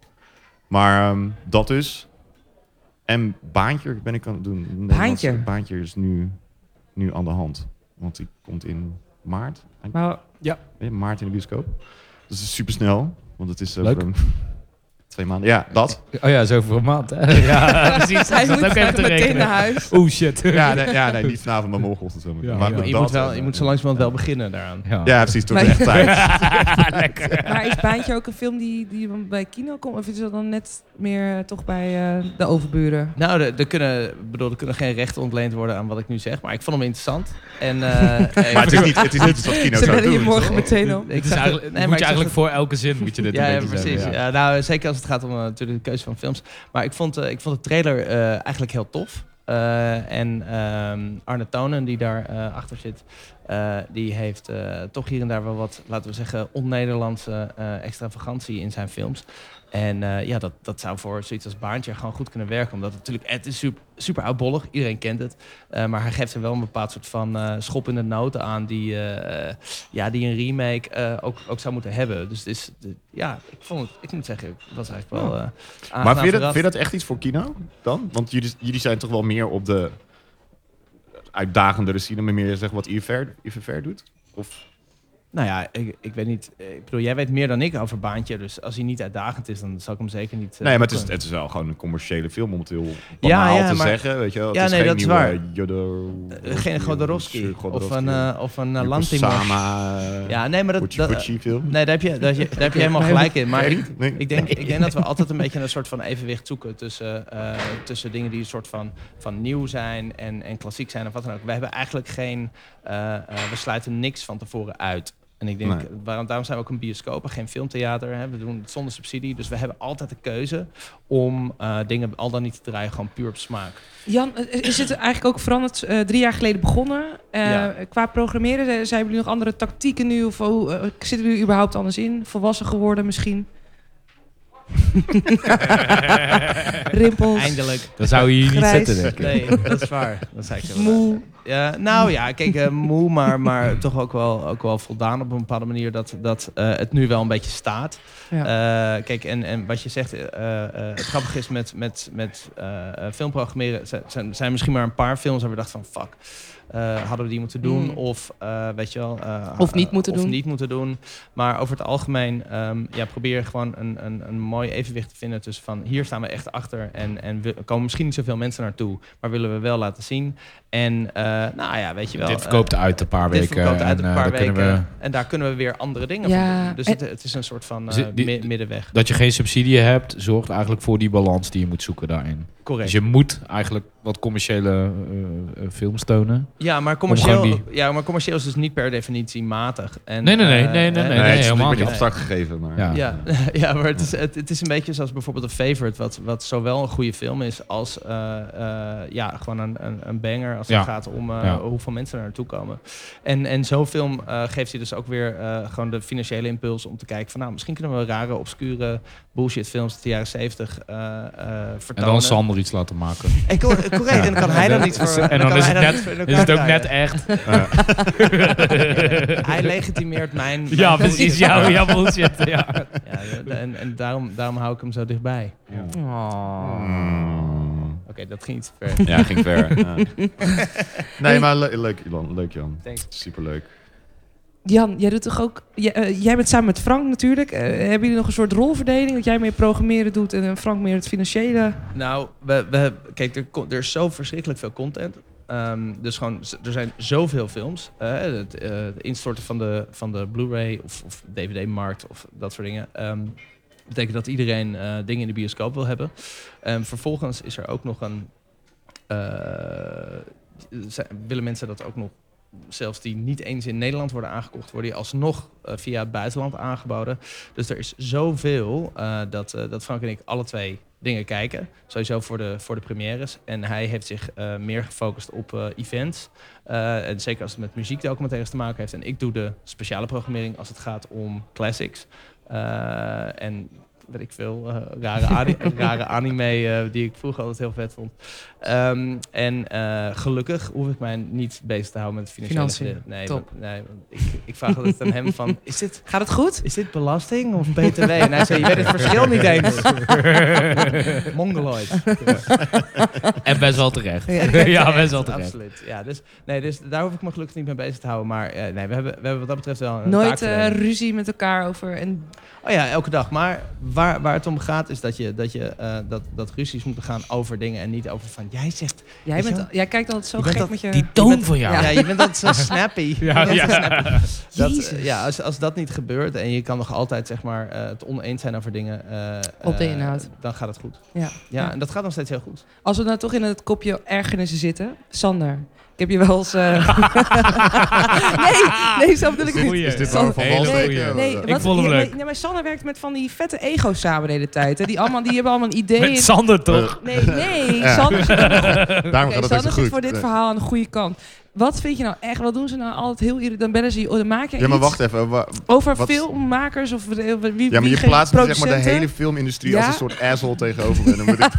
Speaker 4: Maar ehm, dat dus. En baantje ben ik aan het doen. Een Nederlandse
Speaker 2: Baantje?
Speaker 4: Baantje is nu, nu aan de hand. Want die komt in maart. Eind-
Speaker 2: Maar
Speaker 4: eh, maart in de bioscoop. Dus het is super snel. Want het is over
Speaker 1: Leuk.
Speaker 4: een- twee maanden. Ja, dat.
Speaker 1: Oh ja, zo voor een maand. hè? ja, precies.
Speaker 2: hij
Speaker 1: Ik zat
Speaker 2: moet
Speaker 1: ook even
Speaker 2: echt
Speaker 1: te
Speaker 2: meteen
Speaker 1: rekenen.
Speaker 2: naar huis.
Speaker 1: Oh shit.
Speaker 4: Ja, nee, ja, nee, niet vanavond, maar morgenochtend. zo meteen.
Speaker 1: Ja,
Speaker 4: maar
Speaker 1: ja.
Speaker 4: dat-
Speaker 3: je, moet wel, je moet zo
Speaker 4: eh,
Speaker 3: langzamerhand wel beginnen daaraan.
Speaker 1: Ja.
Speaker 4: Ja, precies. Tot
Speaker 2: Maar-
Speaker 4: echt tijd.
Speaker 1: Lekker.
Speaker 2: Maar is Baantje ook een film die, die bij kino komt? Of is dat dan net meer eh, toch bij eh, de overburen?
Speaker 3: Nou, er, er kunnen, bedoel, er kunnen geen rechten ontleend worden aan wat ik nu zeg, maar ik vond hem interessant. En, eh,
Speaker 4: Maar het is niet, het is niet iets wat kino
Speaker 2: Ze
Speaker 4: zou
Speaker 2: bellen
Speaker 4: doen.
Speaker 2: je morgen
Speaker 4: toch?
Speaker 2: meteen op.
Speaker 1: Het
Speaker 3: Ik
Speaker 1: is
Speaker 3: zag het-
Speaker 1: eigenlijk,
Speaker 3: nee, maar
Speaker 1: moet je
Speaker 3: ik zag
Speaker 1: eigenlijk
Speaker 3: het-
Speaker 1: voor elke zin moet je dit
Speaker 3: Ja,
Speaker 1: een
Speaker 3: ja,
Speaker 1: beetje
Speaker 3: precies.
Speaker 1: zeggen.
Speaker 3: Ja, nou, zeker als het gaat om eh, natuurlijk de keuze van films. Maar ik vond, eh, ik vond de trailer eh, eigenlijk heel tof. Eh, en ehm, Arne Tonen, die daar eh, achter zit, eh, die heeft eh, toch hier en daar wel wat, laten we zeggen, on-Nederlandse eh, extravagantie in zijn films. En eh, ja, dat, dat zou voor zoiets als Baantje gewoon goed kunnen werken. Omdat het natuurlijk, het is super, super oudbollig, iedereen kent het. Eh, maar hij geeft er wel een bepaald soort van eh, schop in de noten aan die, eh, ja, die een remake eh, ook, ook zou moeten hebben. Dus het is, de- ja, ik, vond het, ik moet zeggen, ik was eigenlijk wel eh
Speaker 4: Maar
Speaker 3: aangenaam
Speaker 4: vind je, dat,
Speaker 3: verrast.
Speaker 4: vind je dat echt iets voor kino dan? Want jullie, jullie zijn toch wel meer op de uitdagendere cinema, meer zeg wat IFR, IFR doet? Of,
Speaker 3: Nou ja, ik, ik weet niet. eh, Ik bedoel, jij weet meer dan ik over Baantje. Dus als hij niet uitdagend is, dan zal ik hem zeker niet... eh,
Speaker 4: nee, maar het is,
Speaker 3: boeken.
Speaker 4: het is wel gewoon een commerciële film, om het heel banaal
Speaker 3: ja,
Speaker 4: te
Speaker 3: maar-
Speaker 4: zeggen. Weet je wel. Het
Speaker 3: Ja,
Speaker 4: is
Speaker 3: nee,
Speaker 4: geen
Speaker 3: dat is
Speaker 4: nieuwe
Speaker 3: waar.
Speaker 4: Jodor-
Speaker 3: Eh, geen Godorowski of een, eh of een eh,
Speaker 4: Yoko
Speaker 3: Lantimos.
Speaker 4: Sama,
Speaker 3: Ja, nee, maar dat...
Speaker 4: Pochi
Speaker 3: dat-
Speaker 4: Pochi film.
Speaker 3: nee, daar heb je, daar, heb je- daar heb je helemaal gelijk in. Maar
Speaker 4: Nee,
Speaker 3: ik,
Speaker 4: nee.
Speaker 3: ik, denk, ik denk dat we altijd een beetje een soort van evenwicht zoeken tussen, eh, tussen dingen die een soort van, van nieuw zijn en, en klassiek zijn of wat dan ook. We hebben eigenlijk geen... eh, eh, we sluiten niks van tevoren uit. En ik denk,
Speaker 4: Nee.
Speaker 3: waarom, daarom zijn we ook een bioscoop en geen filmtheater. Hè? We doen het zonder subsidie, dus we hebben altijd de keuze om eh, dingen al dan niet te draaien gewoon puur op smaak.
Speaker 2: Jan, eh, is het eigenlijk ook veranderd? eh, drie jaar geleden begonnen. Eh,
Speaker 3: Ja.
Speaker 2: Qua programmeren, eh, zijn jullie nog andere tactieken nu? Of hoe, eh, zitten jullie überhaupt anders in? Volwassen geworden misschien? Rimpels,
Speaker 3: Eindelijk.
Speaker 1: Dan zou je hier niet
Speaker 2: Grijs.
Speaker 1: zitten, denk ik.
Speaker 3: Nee, dat is waar. Dat zei ik zo wel.
Speaker 2: moe.
Speaker 3: Ja, nou ja, kijk, eh, moe, maar, maar toch ook wel, ook wel voldaan op een bepaalde manier dat, dat eh, het nu wel een beetje staat.
Speaker 2: Ja.
Speaker 3: Eh, kijk, en, en wat je zegt, eh, eh, eh, het grappige is met, met, met eh, eh, filmprogrammeren, zijn- zijn, zijn misschien maar een paar films waar we dachten van fuck, eh, hadden we die moeten doen?
Speaker 2: Mm.
Speaker 3: Of eh, weet je wel, eh,
Speaker 2: Of niet
Speaker 3: eh,
Speaker 2: moeten
Speaker 3: of
Speaker 2: doen.
Speaker 3: niet moeten doen. Maar over het algemeen ehm, ja, probeer gewoon een, een, een mooi evenwicht te vinden tussen van hier staan we echt achter en, en we, er komen misschien niet zoveel mensen naartoe, maar willen we wel laten zien. En eh, nou ja, weet je wel.
Speaker 1: Dit verkoopt uit een paar
Speaker 3: eh, dit
Speaker 1: weken.
Speaker 3: verkoopt uit
Speaker 1: en,
Speaker 3: een
Speaker 1: eh,
Speaker 3: paar
Speaker 1: dan kunnen
Speaker 3: weken.
Speaker 1: we-
Speaker 3: En daar kunnen we weer andere dingen
Speaker 2: Ja,
Speaker 3: van doen. Dus
Speaker 2: en-
Speaker 3: het, het is een soort van eh,
Speaker 1: Dus die-
Speaker 3: mi- middenweg.
Speaker 1: Dat je geen subsidie hebt, zorgt eigenlijk voor die balans die je moet zoeken daarin.
Speaker 3: Correct.
Speaker 1: Dus je moet eigenlijk wat commerciële eh, eh, films tonen.
Speaker 3: Ja, maar commercieel,
Speaker 1: gewoon
Speaker 3: ja, maar commercieel is dus niet per definitie matig. En,
Speaker 1: Nee, nee, nee,
Speaker 3: eh,
Speaker 1: nee, nee,
Speaker 3: eh,
Speaker 1: nee,
Speaker 4: het is
Speaker 1: helemaal
Speaker 4: een beetje
Speaker 1: niet.
Speaker 4: abstract gegeven, maar...
Speaker 1: Ja.
Speaker 3: Ja, ja maar het is, het, het is een beetje zoals bijvoorbeeld een favorite, wat, wat zowel een goede film is als eh, eh, ja, gewoon een, een, een banger als
Speaker 1: Ja.
Speaker 3: het gaat om eh,
Speaker 1: Ja.
Speaker 3: hoeveel mensen er naartoe komen. En, en zo'n film eh, geeft je dus ook weer eh, gewoon de financiële impuls om te kijken van nou, misschien kunnen we rare, obscure bullshit films uit de jaren zeventig eh eh,
Speaker 1: En
Speaker 3: vertonen.
Speaker 1: dan Sander iets laten maken.
Speaker 3: En cor- correct,
Speaker 1: Ja.
Speaker 3: en dan kan hij dan niet voor.
Speaker 1: En
Speaker 3: kan
Speaker 1: dan is
Speaker 3: hij
Speaker 1: het,
Speaker 3: niet voor in
Speaker 1: net, is
Speaker 3: elkaar
Speaker 1: het ook
Speaker 3: draaien.
Speaker 1: net echt.
Speaker 3: Hij legitimeert mijn.
Speaker 1: Ja,
Speaker 3: mijn
Speaker 1: precies.
Speaker 3: bullshit.
Speaker 1: Ja, ja bullshit. Ja.
Speaker 3: Ja, en en daarom, daarom hou ik hem zo dichtbij.
Speaker 4: Ja.
Speaker 2: Oh.
Speaker 1: Oh.
Speaker 4: Hmm.
Speaker 3: Oké, dat ging iets te ver.
Speaker 4: Ja, ging ver. ja. Nee, maar le- leuk, Jan. Leuk, Jan.
Speaker 3: Thanks.
Speaker 4: Superleuk.
Speaker 2: Jan, jij doet toch ook. Jij, eh, jij bent samen met Frank natuurlijk. Eh, hebben jullie nog een soort rolverdeling? Dat jij meer programmeren doet en eh, Frank meer het financiële?
Speaker 3: Nou, we, we, kijk, er, ko- er is zo verschrikkelijk veel content. Ehm, dus gewoon, z- er zijn zoveel films. Eh, het eh, het instorten van de, van de Blu-ray of, of DVD-markt of dat soort dingen. Ehm, betekent dat iedereen eh, dingen in de bioscoop wil hebben. En vervolgens is er ook nog een. eh, zijn- willen mensen dat ook nog. Zelfs die niet eens in Nederland worden aangekocht, worden die alsnog eh, via het buitenland aangeboden. Dus er is zoveel eh, dat, eh, dat Frank en ik alle twee dingen kijken. Sowieso voor de, voor de premières. En hij heeft zich eh, meer gefocust op eh, events. Eh, en zeker als het met muziekdocumentaires te maken heeft. En ik doe de speciale programmering als het gaat om classics. Eh, en weet ik veel, eh, rare, ani- rare anime eh, die ik vroeger altijd heel vet vond. Ehm, en eh, gelukkig hoef ik mij niet bezig te houden met financiële...
Speaker 2: Financiën,
Speaker 3: gede- Nee,
Speaker 2: top.
Speaker 3: nee want ik, ik vraag altijd aan hem van, is dit,
Speaker 2: Gaat het goed?
Speaker 3: is dit belasting of BTW? En hij zei, je weet het verschil niet eens. Mongoloid.
Speaker 1: En best wel terecht.
Speaker 2: Ja.
Speaker 1: ja, best wel terecht.
Speaker 3: Absoluut. Ja, dus, nee, dus daar hoef ik me gelukkig niet mee bezig te houden. Maar eh, nee, we hebben, we hebben wat dat betreft wel een
Speaker 2: Nooit eh,
Speaker 3: taakverdeling.
Speaker 2: ruzie met elkaar over en
Speaker 3: Oh ja, elke dag. Maar waar, waar het om gaat is dat, je, dat, je, eh, dat, dat ruzies moeten gaan over dingen en niet over van jij zegt.
Speaker 2: jij,
Speaker 3: Weet je
Speaker 2: bent, jij kijkt altijd zo
Speaker 3: Je bent
Speaker 2: gek
Speaker 3: dat-
Speaker 2: met je...
Speaker 1: Die toon
Speaker 3: bent-
Speaker 1: van jou.
Speaker 3: Ja, je bent altijd zo snappy.
Speaker 1: Ja,
Speaker 3: Je bent
Speaker 1: ja.
Speaker 3: zo snappy. Dat, eh,
Speaker 2: Jezus.
Speaker 3: ja, als, als dat niet gebeurt en je kan nog altijd zeg maar, eh, het oneens zijn over dingen. eh,
Speaker 2: Op de
Speaker 3: eh,
Speaker 2: inhoud.
Speaker 3: Dan gaat het goed.
Speaker 2: Ja.
Speaker 3: Ja,
Speaker 2: Ja.
Speaker 3: en dat gaat nog steeds heel goed.
Speaker 2: Als we nou toch in het kopje ergernissen zitten. Sander, ik heb je wel eens... eh, nee, nee, zo bedoel ik niet.
Speaker 1: Goeie.
Speaker 4: Is dit
Speaker 2: Sander-
Speaker 4: waar van wal
Speaker 2: Nee,
Speaker 4: steken?
Speaker 2: Nee,
Speaker 4: Eh,
Speaker 1: Ik vond hem
Speaker 2: ja,
Speaker 1: leuk.
Speaker 2: maar- Nee, maar Sander werkt met van die vette ego's samen de hele tijd. Hè? Die, allemaal, die hebben allemaal een idee.
Speaker 1: Met Sander toch?
Speaker 2: nee, nee,
Speaker 4: Ja.
Speaker 2: Sander zit
Speaker 4: Daarom
Speaker 2: Oké,
Speaker 4: gaat Eh, het ook zo
Speaker 2: Sander zit
Speaker 4: goed.
Speaker 2: voor dit
Speaker 4: Eh,
Speaker 2: verhaal aan de goede kant. Wat vind je nou echt? Wat doen ze nou altijd heel irritant? Dan bellen ze je, oh, dan maak je
Speaker 4: Ja, maar
Speaker 2: iets
Speaker 4: wacht even. wa-
Speaker 2: over
Speaker 4: wat-
Speaker 2: filmmakers of wie wie-
Speaker 4: Ja, maar je
Speaker 2: wie-
Speaker 4: plaatst zeg maar de
Speaker 2: producenten.
Speaker 4: hele filmindustrie
Speaker 2: Ja?
Speaker 4: als een soort asshole tegenover me. Dan moet ik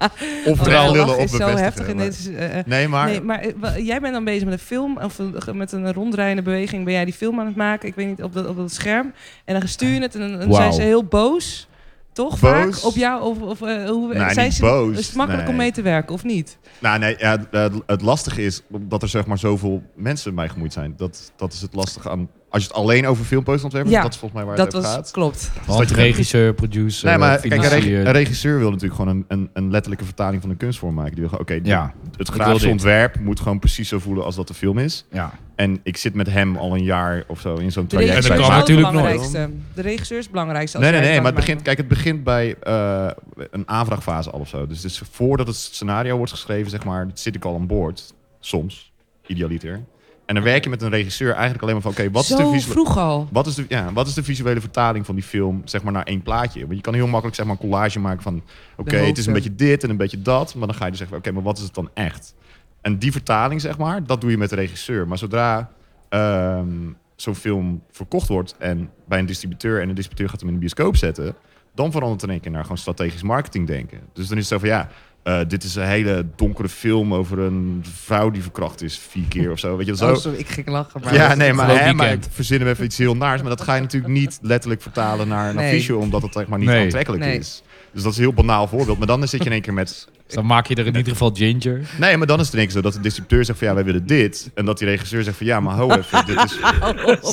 Speaker 4: of
Speaker 2: Oh,
Speaker 4: terwijl
Speaker 2: de
Speaker 4: lullen
Speaker 2: lach
Speaker 4: of
Speaker 2: is zo
Speaker 4: bevestigen,
Speaker 2: heftig. In
Speaker 4: maar-
Speaker 2: dit, eh, eh,
Speaker 4: Nee, maar...
Speaker 2: nee, maar eh, wa- jij bent dan bezig met een film of een- ge- met een ronddraaiende beweging. Ben jij die film aan het maken? Ik weet niet op dat, op dat scherm. En dan stuur je het en dan, dan
Speaker 4: Wauw.
Speaker 2: zijn ze heel boos. Toch
Speaker 4: Boos?
Speaker 2: vaak op jou? Of, of, eh, hoe,
Speaker 4: Nee,
Speaker 2: zijn
Speaker 4: niet
Speaker 2: ze,
Speaker 4: boos.
Speaker 2: Is het makkelijk om
Speaker 4: Nee.
Speaker 2: mee te werken of niet?
Speaker 4: Nou, nee, ja, het- het- het lastige is dat er zeg maar zoveel mensen mij gemoeid zijn. Dat, dat is het lastige aan... Als je het alleen over filmpoostontwerpen,
Speaker 2: Ja,
Speaker 4: dat is volgens mij waar
Speaker 2: Dat
Speaker 4: het over
Speaker 2: was,
Speaker 4: gaat.
Speaker 2: klopt.
Speaker 1: Want regisseur, producer,
Speaker 4: Nee, maar kijk, een, reg-
Speaker 1: financier.
Speaker 4: een regisseur wil natuurlijk gewoon een, een, een letterlijke vertaling van een kunstvorm maken. Die wil gewoon, oké,
Speaker 1: Ja,
Speaker 4: d- het
Speaker 1: wil
Speaker 4: grafische
Speaker 1: dit.
Speaker 4: ontwerp moet gewoon precies zo voelen als dat de film is.
Speaker 1: ja.
Speaker 4: En ik zit met hem al een jaar of zo in zo'n
Speaker 2: De
Speaker 4: traject.
Speaker 1: dat
Speaker 2: regisseur
Speaker 4: bij
Speaker 2: is
Speaker 1: kan
Speaker 2: wel
Speaker 4: Maarten.
Speaker 2: het
Speaker 1: natuurlijk nooit.
Speaker 2: belangrijkste. De regisseur is het belangrijkste. als
Speaker 4: Nee, nee,
Speaker 2: jij
Speaker 4: nee, maar
Speaker 2: het kan
Speaker 4: het begint, kijk, het begint bij eh, een aanvraagfase al of zo. Dus, dus voordat het scenario wordt geschreven, zeg maar, zit ik al aan boord. Soms, idealiter. En dan werk je met een regisseur eigenlijk alleen maar van, oké, wat is
Speaker 2: Zo
Speaker 4: de visuele...
Speaker 2: vroeg al.
Speaker 4: Wat is, de, ja, wat is de visuele vertaling van die film zeg maar, naar één plaatje? Want je kan heel makkelijk zeg maar, een collage maken van... oké,
Speaker 2: De
Speaker 4: het is een
Speaker 2: hoofden.
Speaker 4: beetje dit en een beetje dat. Maar dan ga je dus zeggen, oké, maar wat is het dan echt? En die vertaling, zeg maar, dat doe je met de regisseur. Maar zodra ehm, zo'n film verkocht wordt en bij een distributeur... en de distributeur gaat hem in de bioscoop zetten... dan verandert het in één keer naar gewoon strategisch marketing denken. Dus dan is het zo van, ja, eh, dit is een hele donkere film... over een vrouw die verkracht is vier keer of zo. Weet je, wel, zo,
Speaker 2: Oh, sorry, ik ging lachen. Maar
Speaker 4: ja, nee, maar,
Speaker 1: Gewoon
Speaker 4: hè, maar
Speaker 1: weekend.
Speaker 4: ik verzin hem even iets heel naars. Maar dat ga je natuurlijk niet letterlijk vertalen naar een
Speaker 2: Nee.
Speaker 4: affiche, omdat het zeg maar niet
Speaker 1: Nee.
Speaker 4: aantrekkelijk
Speaker 2: Nee.
Speaker 4: is. Dus dat is een heel banaal voorbeeld. Maar dan zit je in één keer met.
Speaker 1: Dus dan maak je er in ieder geval ginger.
Speaker 4: Nee, maar dan is het in één keer zo dat de distributeur zegt van ja, wij willen dit. En dat die regisseur zegt van ja, maar ho even. Dit is...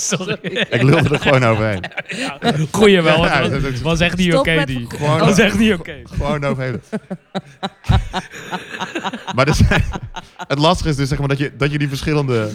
Speaker 1: Sorry.
Speaker 4: Ik lulde er gewoon overheen.
Speaker 1: Goeie wel, want
Speaker 4: Ja,
Speaker 1: dat
Speaker 4: dat
Speaker 1: was,
Speaker 4: is-
Speaker 1: echt niet oké
Speaker 2: Stop met
Speaker 1: die.
Speaker 2: verkopen.
Speaker 1: Dat was echt niet oké.
Speaker 4: Gewoon overheen. maar dus, het lastige is dus zeg maar dat je, dat je die verschillende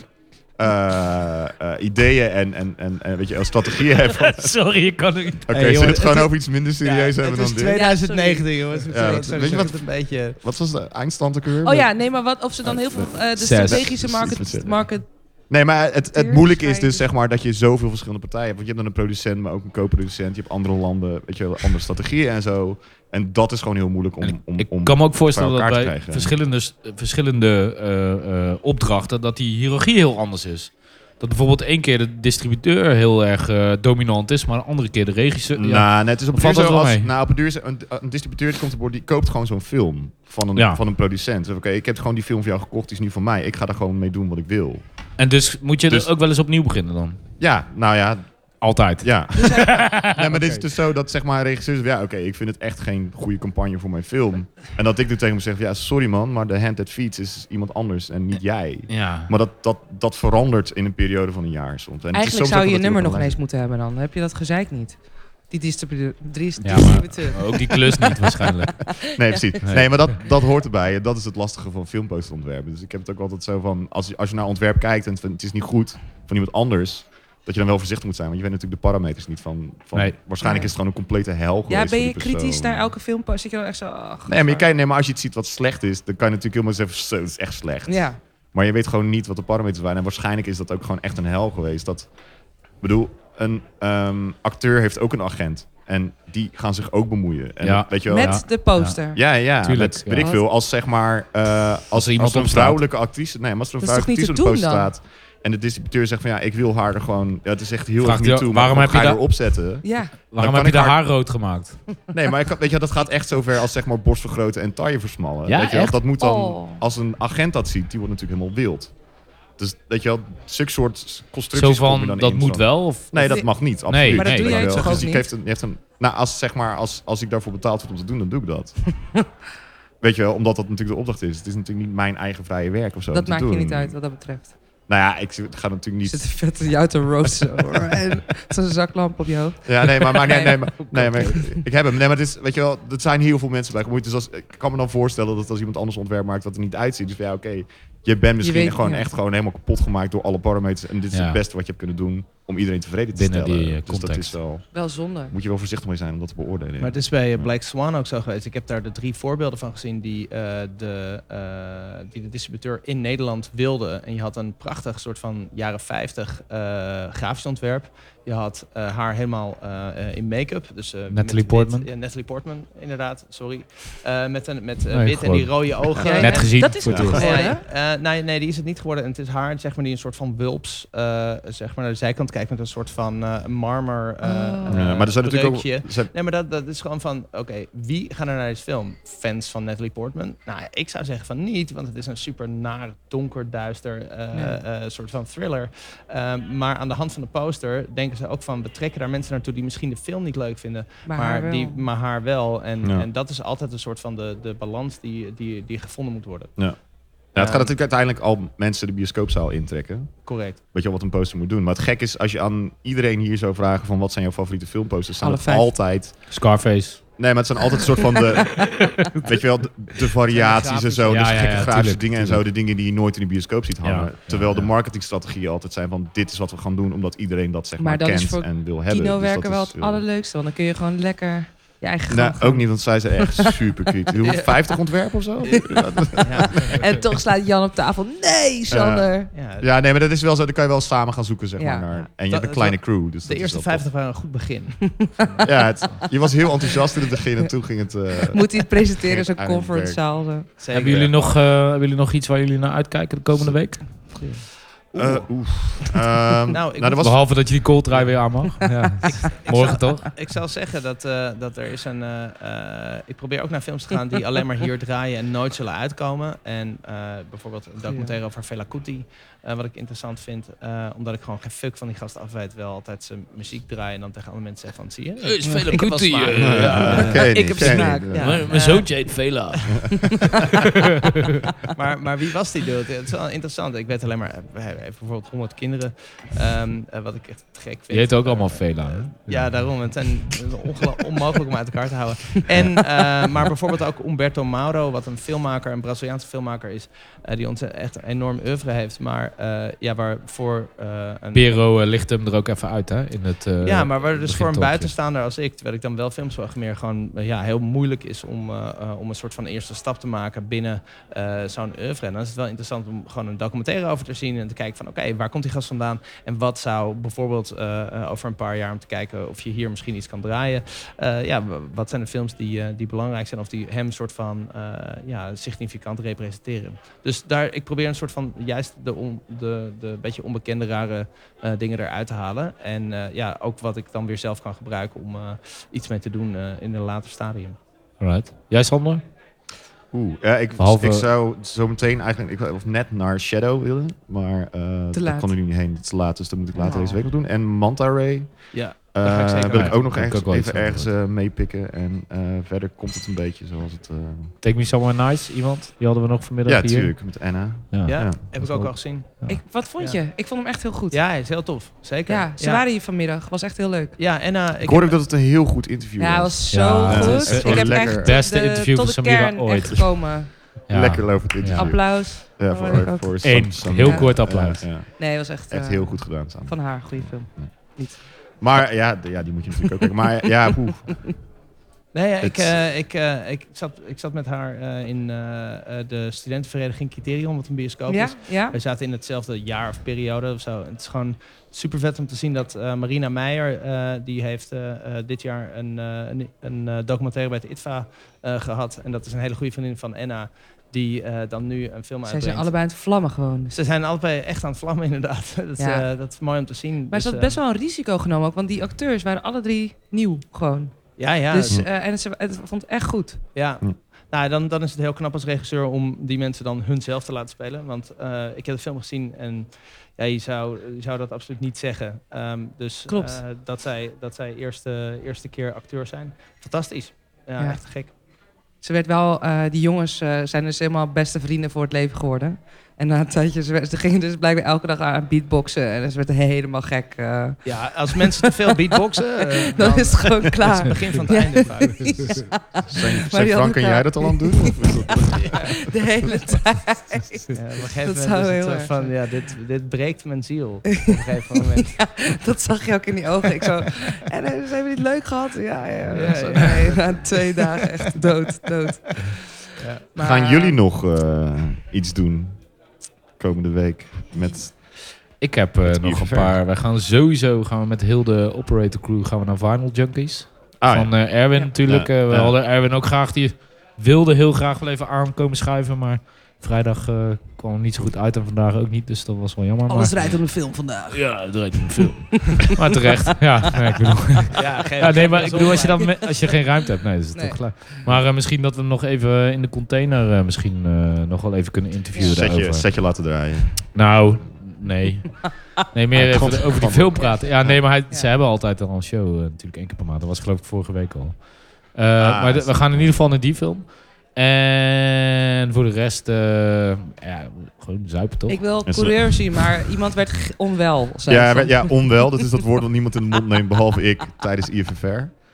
Speaker 4: eh, eh, ideeën en, en, en, en weet je, wel, strategieën hebt. Oké,
Speaker 1: Sorry, ik kan er niet.
Speaker 3: Hey,
Speaker 4: zullen we
Speaker 3: jongen,
Speaker 4: het gewoon
Speaker 3: het-
Speaker 4: over iets minder serieus
Speaker 3: Ja,
Speaker 4: hebben
Speaker 3: het
Speaker 4: dan
Speaker 3: is
Speaker 4: dit?
Speaker 3: 2019, jongens.
Speaker 4: Ja,
Speaker 3: Sorry,
Speaker 4: dat-
Speaker 3: sorry,
Speaker 4: weet je
Speaker 3: sorg het
Speaker 4: wat-
Speaker 3: een beetje...
Speaker 4: Wat was de eindstand ook weer?
Speaker 2: Oh ja, nee, maar wat, of ze dan heel veel... eh, de
Speaker 1: Zes.
Speaker 2: strategische
Speaker 4: Precies,
Speaker 2: market...
Speaker 4: precies.
Speaker 2: market
Speaker 4: Nee, maar het, het
Speaker 2: Teer,
Speaker 4: moeilijke is
Speaker 2: schrijven.
Speaker 4: dus zeg maar dat je zoveel verschillende partijen hebt. Want je hebt dan een producent, maar ook een co-producent. Je hebt andere landen, weet je wel, andere strategieën en zo. En dat is gewoon heel moeilijk om...
Speaker 1: En ik-
Speaker 4: om,
Speaker 1: ik
Speaker 4: om
Speaker 1: kan me ook voorstellen
Speaker 4: bij
Speaker 1: dat
Speaker 4: elkaar
Speaker 1: bij
Speaker 4: te krijgen.
Speaker 1: verschillende, s- eh, verschillende eh, eh, opdrachten dat die hiërarchie heel anders is. Dat bijvoorbeeld één keer de distributeur heel erg eh, dominant is, maar de andere keer de regisseur.
Speaker 4: Nou,
Speaker 1: ja.
Speaker 4: net is op een
Speaker 1: Valt
Speaker 4: duur
Speaker 1: dat
Speaker 4: zo
Speaker 1: wel
Speaker 4: als,
Speaker 1: mee?
Speaker 4: nou, op een, duur, is- een, een distributeur die komt op boord, die koopt gewoon zo'n film van een,
Speaker 1: Ja.
Speaker 4: van een producent. Dus Oké, ik heb gewoon die film voor jou gekocht, die is nu van mij. Ik ga daar gewoon mee doen wat ik wil.
Speaker 1: En dus moet je
Speaker 4: Dus-
Speaker 1: er ook wel eens opnieuw beginnen dan?
Speaker 4: Ja, nou ja,
Speaker 1: Altijd.
Speaker 4: Ja. nee, maar dit is dus zo dat zeg maar een regisseur zegt, ja, oké, ik vind het echt geen goede campagne voor mijn film. En dat ik nu tegen hem zeg, ja, sorry man, maar de hand that feeds is iemand anders en niet jij.
Speaker 1: Ja.
Speaker 4: Maar dat, dat, dat verandert in een periode van een jaar soms. En het is
Speaker 2: eigenlijk
Speaker 4: soms
Speaker 2: zou
Speaker 4: ook
Speaker 2: je je
Speaker 4: wat
Speaker 2: nummer
Speaker 4: heel
Speaker 2: nog
Speaker 4: gelijk.
Speaker 2: ineens moeten hebben dan. Dan heb je dat gezeik niet. Die distributeur... Dries,
Speaker 1: Ja,
Speaker 2: distributeur.
Speaker 1: Maar Ook die klus niet waarschijnlijk.
Speaker 4: Nee, precies.
Speaker 1: Nee.
Speaker 4: Nee, maar dat, dat hoort erbij. En dat is het lastige van filmposterontwerpen. Dus ik heb het ook altijd zo van, als je, als je naar ontwerp kijkt en het, het is niet goed van iemand anders... dat je dan wel voorzichtig moet zijn. Want je weet natuurlijk de parameters niet van... van
Speaker 1: Nee.
Speaker 4: Waarschijnlijk is het gewoon een complete hel geweest
Speaker 2: Ja,
Speaker 4: voor
Speaker 2: ben
Speaker 4: die
Speaker 2: je
Speaker 4: persoon.
Speaker 2: kritisch naar elke filmpost? Zit je dan echt zo... ach,
Speaker 4: Nee maar, je kijkt, nee, maar als je het ziet wat slecht is, dan kan je natuurlijk helemaal zeggen, zo, het is echt slecht.
Speaker 2: Ja,
Speaker 4: Maar je weet gewoon niet wat de parameters waren. En waarschijnlijk is dat ook gewoon echt een hel geweest. Dat, ik bedoel, een ehm, acteur heeft ook een agent. En die gaan zich ook bemoeien. En
Speaker 1: Ja.
Speaker 4: dat- weet je wel,
Speaker 2: met de poster.
Speaker 4: ja, ja.
Speaker 1: Tuurlijk,
Speaker 4: met,
Speaker 1: ja.
Speaker 4: Weet ik veel. Als zeg maar. eh, als, als,
Speaker 1: er iemand
Speaker 4: er een
Speaker 1: op staat.
Speaker 4: vrouwelijke actrice. Nee, maar als er een
Speaker 2: Dat is
Speaker 4: vrouwelijke
Speaker 2: toch niet te
Speaker 4: actrice op de poster
Speaker 2: doen dan?
Speaker 4: staat. En de distributeur zegt van ja, ik wil haar er gewoon. Ja, het is echt heel
Speaker 1: Vraagt
Speaker 4: erg
Speaker 1: hij,
Speaker 4: niet toe.
Speaker 1: waarom heb
Speaker 4: ga
Speaker 1: je
Speaker 4: je
Speaker 1: dat-
Speaker 4: erop zetten?
Speaker 2: Ja,
Speaker 1: Waarom
Speaker 4: kan
Speaker 1: heb je
Speaker 4: ik
Speaker 1: de
Speaker 4: haar-
Speaker 1: haar rood gemaakt?
Speaker 4: Nee, maar ik, weet je, wel, dat gaat echt zover als zeg maar borst vergroten en taille versmallen.
Speaker 1: Ja,
Speaker 4: weet je wel,
Speaker 1: echt?
Speaker 4: dat moet dan.
Speaker 2: Oh.
Speaker 4: Als een agent dat ziet, die wordt natuurlijk helemaal wild. Dus weet je wel, zulke soort constructies.
Speaker 1: Zo
Speaker 4: kom je
Speaker 1: van,
Speaker 4: dan
Speaker 1: dat
Speaker 4: in,
Speaker 1: moet
Speaker 4: zo.
Speaker 1: wel? Of,
Speaker 4: Nee,
Speaker 2: Of
Speaker 4: dat
Speaker 2: die-
Speaker 4: mag niet. Absoluut.
Speaker 1: maar dat
Speaker 4: Weet
Speaker 1: doe
Speaker 4: je
Speaker 1: jij
Speaker 4: wel.
Speaker 1: toch ook
Speaker 4: Dus die
Speaker 2: niet?
Speaker 4: Heeft een, die heeft een, nou, als, zeg maar, als, als ik daarvoor betaald word om te doen, dan doe ik dat. Weet je wel, omdat dat natuurlijk de opdracht is. Het is natuurlijk niet mijn eigen vrije werk of zo. om
Speaker 2: dat
Speaker 4: te
Speaker 2: maakt je
Speaker 4: doen.
Speaker 2: niet uit wat dat betreft.
Speaker 4: Nou ja, ik ga natuurlijk
Speaker 2: Je
Speaker 4: niet...
Speaker 2: zit een vette jou te roosten hoor. En zo'n zaklamp op je hoofd.
Speaker 4: Ja, nee, maar, maar, nee,
Speaker 2: Nee,
Speaker 4: nee, maar, nee, maar ik heb hem. Nee, maar het is, weet je wel, er zijn heel veel mensen bij gemoeid. Dus als, ik kan me dan voorstellen dat als iemand anders ontwerp maakt, dat er niet uitziet. Dus van, ja, oké, je bent misschien
Speaker 2: weet-
Speaker 4: gewoon
Speaker 2: ja.
Speaker 4: echt gewoon helemaal kapot gemaakt door alle parameters. En dit is
Speaker 1: Ja.
Speaker 4: het beste wat je hebt kunnen doen om iedereen tevreden te
Speaker 1: Binnen
Speaker 4: stellen.
Speaker 1: die, eh,
Speaker 4: dus dat
Speaker 1: context.
Speaker 4: is wel,
Speaker 2: Wel zonde.
Speaker 4: moet je wel voorzichtig mee zijn om dat te beoordelen. ja.
Speaker 3: Maar het is bij eh, Black Swan ook zo geweest. Ik heb daar de drie voorbeelden van gezien die, eh, de, eh, die de distributeur in Nederland wilde. En je had een prachtig soort van jaren 50 eh, grafisch ontwerp. Je had eh, haar helemaal eh, eh, in make-up. Dus, eh,
Speaker 1: Natalie
Speaker 3: wit-
Speaker 1: Portman.
Speaker 3: ja, Natalie Portman, inderdaad. Sorry. Eh, met een, met eh,
Speaker 1: Nee,
Speaker 3: wit en die
Speaker 1: gewoon.
Speaker 3: rode ogen.
Speaker 2: Ja,
Speaker 1: Net
Speaker 3: En-
Speaker 1: gezien.
Speaker 2: Dat is het
Speaker 4: Ja.
Speaker 2: geworden.
Speaker 3: Nee,
Speaker 2: hè?
Speaker 3: eh, nee, nee, die is het niet geworden. En het is haar, zeg maar, die een soort van wulps eh, zeg maar, naar de zijkant kijkt met een soort van eh, marmer. eh,
Speaker 2: Oh.
Speaker 4: Ja, maar er zijn natuurlijk ook...
Speaker 3: breukje.
Speaker 4: er zijn-
Speaker 3: Nee, maar dat, dat is gewoon van, oké, wie gaan er naar deze film? Fans van Natalie Portman? Nou, ik zou zeggen van niet, want het is een super naar, donker, duister eh,
Speaker 2: Ja.
Speaker 3: eh, soort van thriller. Eh, maar aan de hand van de poster denken ze ook van, we trekken daar mensen naartoe die misschien de film niet leuk vinden,
Speaker 2: Maar,
Speaker 3: maar,
Speaker 2: haar wel.
Speaker 3: Die, maar haar wel. En,
Speaker 4: Ja.
Speaker 3: en dat is altijd een soort van de, de balans die, die, die gevonden moet worden.
Speaker 4: Ja, het gaat
Speaker 3: Ehm.
Speaker 4: natuurlijk uiteindelijk al mensen de bioscoopzaal intrekken.
Speaker 3: Correct.
Speaker 4: Weet je wel wat een poster moet doen. Maar het gek is, als je aan iedereen hier zou vragen van wat zijn jouw favoriete filmposters, zijn
Speaker 2: Alle
Speaker 4: het
Speaker 2: vijf.
Speaker 4: altijd...
Speaker 1: Scarface.
Speaker 4: Nee, maar het zijn altijd een soort van de... weet je wel, de, de variaties en zo.
Speaker 1: Ja,
Speaker 4: dus
Speaker 1: ja, ja,
Speaker 4: gekke grafische
Speaker 1: tuurlijk,
Speaker 4: dingen en zo. De dingen die je nooit in de bioscoop ziet hangen.
Speaker 1: Ja, ja,
Speaker 4: Terwijl de
Speaker 1: ja.
Speaker 4: marketingstrategieën altijd zijn van dit is wat we gaan doen, omdat iedereen dat zeg
Speaker 2: Maar
Speaker 4: maar,
Speaker 2: dat is
Speaker 4: kent
Speaker 2: voor
Speaker 4: en wil hebben.
Speaker 2: Kino
Speaker 4: Dus
Speaker 2: werken
Speaker 4: dat
Speaker 2: wel
Speaker 4: is
Speaker 2: het
Speaker 4: heel-
Speaker 2: allerleukste, want dan kun je gewoon lekker je eigen gang
Speaker 4: Nou,
Speaker 2: gaan.
Speaker 4: ook niet, want zij zijn echt super kritisch. Hoeveel, 50 ontwerpen of zo?
Speaker 3: Ja.
Speaker 2: En toch slaat Jan op tafel. Nee, Sander.
Speaker 3: Ja,
Speaker 1: dus
Speaker 4: Ja, nee, maar dat is wel zo. Dan kan je wel samen gaan zoeken, zeg
Speaker 2: Ja.
Speaker 4: maar. Naar, en je
Speaker 3: Dat-
Speaker 4: hebt een kleine crew. Dus
Speaker 3: De
Speaker 4: dat is
Speaker 3: eerste
Speaker 4: wel
Speaker 3: 50
Speaker 4: tof.
Speaker 3: waren een goed begin.
Speaker 4: Ja, het- je was heel enthousiast in het begin en toen ging het... eh,
Speaker 2: Moet hij het presenteren,
Speaker 4: Geen
Speaker 2: zo'n
Speaker 4: aardig
Speaker 2: conferentzaal. zo.
Speaker 1: Hebben jullie, nog, eh, hebben jullie nog iets waar jullie naar uitkijken de komende week?
Speaker 4: eh, oef. Ehm, nou,
Speaker 3: ik
Speaker 4: dat was...
Speaker 1: Behalve dat je die coldraai weer aan mag. Ja. Morgen toch?
Speaker 3: Ik zou zeggen dat, eh, dat er is een. eh, eh, ik probeer ook naar films te gaan die alleen maar hier draaien en nooit zullen uitkomen. En eh, bijvoorbeeld een documentaire over Fela Kuti, eh, wat ik interessant vind, eh, omdat ik gewoon geen fuck van die gast af weet, wel altijd zijn muziek draaien en dan tegen andere mensen zeg van, zie je?
Speaker 1: Eh, is
Speaker 3: Ik-
Speaker 1: Fela
Speaker 3: ik heb wel
Speaker 1: Kuti,
Speaker 3: smaak.
Speaker 1: eh,
Speaker 4: Ja,
Speaker 1: Ja.
Speaker 4: dat ken je
Speaker 2: Ik
Speaker 4: niet,
Speaker 2: heb
Speaker 4: ken je
Speaker 2: smaak,
Speaker 4: niet.
Speaker 2: ja.
Speaker 1: Mijn- Mijn
Speaker 3: eh,
Speaker 1: zoontje heet Vela.
Speaker 3: maar, maar wie was die dude? Het is wel interessant. Ik weet alleen maar, eh, hij heeft bijvoorbeeld 100 kinderen, ehm, eh, wat ik echt te gek vind.
Speaker 1: Je heet ook allemaal
Speaker 3: Eh,
Speaker 1: Vela. hè?
Speaker 3: Ja, daarom. Het zijn- het is ongela- onmogelijk om uit elkaar te houden. En, eh, maar bijvoorbeeld ook Umberto Mauro, wat een filmmaker, een Braziliaanse filmmaker is, eh, die ons echt een enorm oeuvre heeft, maar eh, ja, waarvoor eh, een...
Speaker 1: Pero eh, licht hem er ook even uit, hè? In het, eh,
Speaker 3: ja, maar waar dus voor een
Speaker 1: begintolkje.
Speaker 3: buitenstaander als ik, terwijl ik dan wel films zag, meer gewoon eh, ja, heel moeilijk is om, eh, eh, om een soort van eerste stap te maken binnen eh, zo'n oeuvre. En dan is het wel interessant om gewoon een documentaire over te zien en te kijken van oké, waar komt die gast vandaan? En wat zou bijvoorbeeld eh, eh, over een paar jaar om te kijken of je hier misschien iets kan draaien. eh, ja, w- wat zijn de films die, eh, die belangrijk zijn of die hem soort van eh, ja, significant representeren? Dus daar, ik probeer een soort van juist de, on, de, de beetje onbekende rare eh, dingen eruit te halen. En eh, ja, ook wat ik dan weer zelf kan gebruiken om eh, iets mee te doen eh, in een later stadium.
Speaker 1: Alright. Jij, Sander?
Speaker 4: Oeh, ja, ik,
Speaker 1: Behalve-
Speaker 4: ik zou zo meteen eigenlijk ik, wou- of net naar Shadow willen, maar eh
Speaker 2: laat.
Speaker 4: dat kon er nu niet heen. Het is te laat, dus dat moet ik later
Speaker 2: Oh.
Speaker 4: deze week nog doen. En Manta Ray
Speaker 3: Ja,
Speaker 4: eh,
Speaker 3: ga ik zeker
Speaker 4: wil
Speaker 1: bij.
Speaker 4: ik ook nog
Speaker 1: Heb ik
Speaker 4: ergens,
Speaker 1: ook wel iets
Speaker 4: even
Speaker 1: van
Speaker 4: ergens eh, meepikken. En eh, verder komt het een beetje zoals het... eh,
Speaker 1: Take me somewhere nice, iemand? Die hadden we nog vanmiddag
Speaker 4: ja,
Speaker 1: hier.
Speaker 4: tuurlijk, met Anna.
Speaker 1: Ja.
Speaker 3: ja,
Speaker 4: ja,
Speaker 3: heb
Speaker 4: dat
Speaker 3: ik
Speaker 4: is
Speaker 3: ook
Speaker 4: wel-
Speaker 3: al gezien.
Speaker 2: Ik, wat vond
Speaker 3: Ja.
Speaker 2: je? Ik vond hem echt heel goed. Ja,
Speaker 3: Ja, hij is heel tof. Zeker.
Speaker 2: ze waren hier vanmiddag. Was echt heel leuk.
Speaker 3: Ja, en eh,
Speaker 4: Ik hoorde ook dat het een heel goed interview
Speaker 2: Ja,
Speaker 4: was.
Speaker 2: was zo
Speaker 1: Ja,
Speaker 4: het
Speaker 2: goed.
Speaker 4: is echt
Speaker 2: ik
Speaker 4: wel
Speaker 2: heb
Speaker 4: lekker.
Speaker 2: echt
Speaker 1: Beste
Speaker 2: de,
Speaker 1: interview
Speaker 2: tot
Speaker 1: van
Speaker 2: de
Speaker 1: Samira
Speaker 2: kern
Speaker 1: ooit.
Speaker 2: echt gekomen.
Speaker 1: Ja.
Speaker 4: Lekker lovend interview.
Speaker 2: Applaus.
Speaker 4: Ja,
Speaker 2: Dat
Speaker 4: voor,
Speaker 2: hoor ik
Speaker 4: voor,
Speaker 2: ook.
Speaker 1: Eén.
Speaker 4: Samsung.
Speaker 1: Heel
Speaker 2: Ja.
Speaker 1: kort applaus.
Speaker 4: Ja, ja.
Speaker 2: Nee, het was echt,
Speaker 4: Echt
Speaker 2: eh,
Speaker 4: heel goed gedaan samen.
Speaker 2: van haar. Goede film.
Speaker 4: Maar ja, d- ja, die moet je natuurlijk ook kijken. Maar ja, poeh.
Speaker 2: Nou,
Speaker 3: Nee, ja, ik,
Speaker 4: Het-
Speaker 3: eh, ik, eh, ik, zat, ik zat met haar eh, in eh, eh, de studentenvereniging Criterion, wat een bioscoop
Speaker 2: Ja,
Speaker 3: is.
Speaker 2: ja.
Speaker 3: We zaten in hetzelfde jaar of periode of zo. Het is gewoon super vet om te zien dat eh, Marina Meijer, eh, die heeft eh, eh, dit jaar een, eh, een, een eh, documentaire bij het ITVA eh, gehad. En dat is een hele goede vriendin van Enna, die eh, dan nu een film
Speaker 2: Zij
Speaker 3: uitbrengt.
Speaker 2: zijn allebei aan het vlammen gewoon.
Speaker 3: Ze zijn allebei echt aan het vlammen, inderdaad. Dat, is,
Speaker 2: Ja.
Speaker 3: eh, dat is mooi om te zien. eh,
Speaker 2: Maar ze had best wel een risico genomen ook, want die acteurs waren alle drie nieuw gewoon.
Speaker 3: Ja, ja.
Speaker 2: dus,
Speaker 4: dat-
Speaker 2: eh, en ze, het vond het echt goed.
Speaker 3: Ja.
Speaker 4: Hm.
Speaker 3: Nou, dan, dan is het heel knap als regisseur om die mensen dan hunzelf te laten spelen. Want eh, ik heb de film gezien en ja, je, zou, je zou dat absoluut niet zeggen. Ehm, dus
Speaker 2: Klopt.
Speaker 3: eh, dat zij, dat zij eerste, eerste keer acteur zijn. Fantastisch. Ja,
Speaker 2: Ja.
Speaker 3: echt gek.
Speaker 2: Ze werd wel, eh, die jongens eh, zijn dus helemaal beste vrienden voor het leven geworden. En na een tijdje, ze, werd- ze gingen dus blijkbaar elke dag aan beatboxen en ze werd helemaal gek. eh.
Speaker 3: Ja, als mensen te veel beatboxen, eh, dan,
Speaker 2: dan is het gewoon
Speaker 3: is het
Speaker 2: klaar.
Speaker 3: begin van het einde vaak.
Speaker 4: Zijn,
Speaker 2: die
Speaker 4: zijn
Speaker 2: had
Speaker 4: Frank
Speaker 2: het
Speaker 4: en
Speaker 2: daar.
Speaker 4: jij dat al aan het doen? Of is dat-
Speaker 2: De hele tijd.
Speaker 3: Ja, op een
Speaker 2: Dat
Speaker 3: gegeven moment
Speaker 2: zou
Speaker 3: is het
Speaker 2: heel
Speaker 3: zo
Speaker 2: erg
Speaker 3: van, ja, dit, dit breekt mijn ziel op een gegeven moment.
Speaker 2: Dat zag je ook in die ogen. Ik zo, en eh, ze hebben niet leuk gehad. Ja, ja.
Speaker 3: Ja,
Speaker 2: Zo,
Speaker 3: ja.
Speaker 2: Nee, na twee dagen echt dood, dood.
Speaker 3: Ja.
Speaker 2: Maar-
Speaker 4: Gaan jullie nog eh, iets doen komende week? Met,
Speaker 1: Ik heb eh,
Speaker 4: Het
Speaker 1: nog een
Speaker 4: universum.
Speaker 1: paar. Wij gaan sowieso gaan we met heel de operator crew gaan we naar Vinyl Junkies.
Speaker 4: ah, ja.
Speaker 1: van eh, Erwin
Speaker 2: Ja.
Speaker 1: natuurlijk.
Speaker 4: Ja,
Speaker 1: eh, we
Speaker 4: ja.
Speaker 1: hadden Erwin ook graag. Die wilde heel graag wel even aankomen schuiven. Maar vrijdag eh, kwam het niet zo goed uit. En vandaag ook niet. Dus dat was wel jammer.
Speaker 2: Alles
Speaker 1: Maar,
Speaker 2: rijdt op een film vandaag.
Speaker 1: ja, dat rijdt een film. maar terecht. Ja, nee, ik bedoel,
Speaker 3: Ja, geen-
Speaker 1: ja, nee, maar
Speaker 3: geen
Speaker 1: ik bedoel, als je,
Speaker 3: zonlight.
Speaker 1: dan me- als je geen ruimte hebt, nee, dat is het
Speaker 2: Nee.
Speaker 1: toch klaar. Maar eh, misschien dat we hem nog even eh, in de container eh, misschien eh, nog wel even kunnen interviewen
Speaker 4: Zet je,
Speaker 1: daarover.
Speaker 4: zet je laten draaien.
Speaker 1: Nou, nee. Nee, meer
Speaker 4: Ah, god,
Speaker 1: even over die
Speaker 4: god.
Speaker 1: film praten. Ja, nee, maar hij,
Speaker 2: Ja.
Speaker 1: ze hebben altijd al een show, eh, natuurlijk één keer per maand. Dat was geloof ik vorige week al. Eh,
Speaker 4: Ah,
Speaker 1: maar de-
Speaker 4: is-
Speaker 1: we gaan in ieder geval naar die film. En voor de rest, eh, ja, gewoon zuipen toch?
Speaker 2: Ik wil
Speaker 4: Is
Speaker 2: coureur zien, maar iemand werd g- onwel. zei
Speaker 4: Ja,
Speaker 2: ze.
Speaker 4: we- ja, onwel. Dat is dat woord dat niemand in de mond neemt, behalve ik, tijdens IFFR.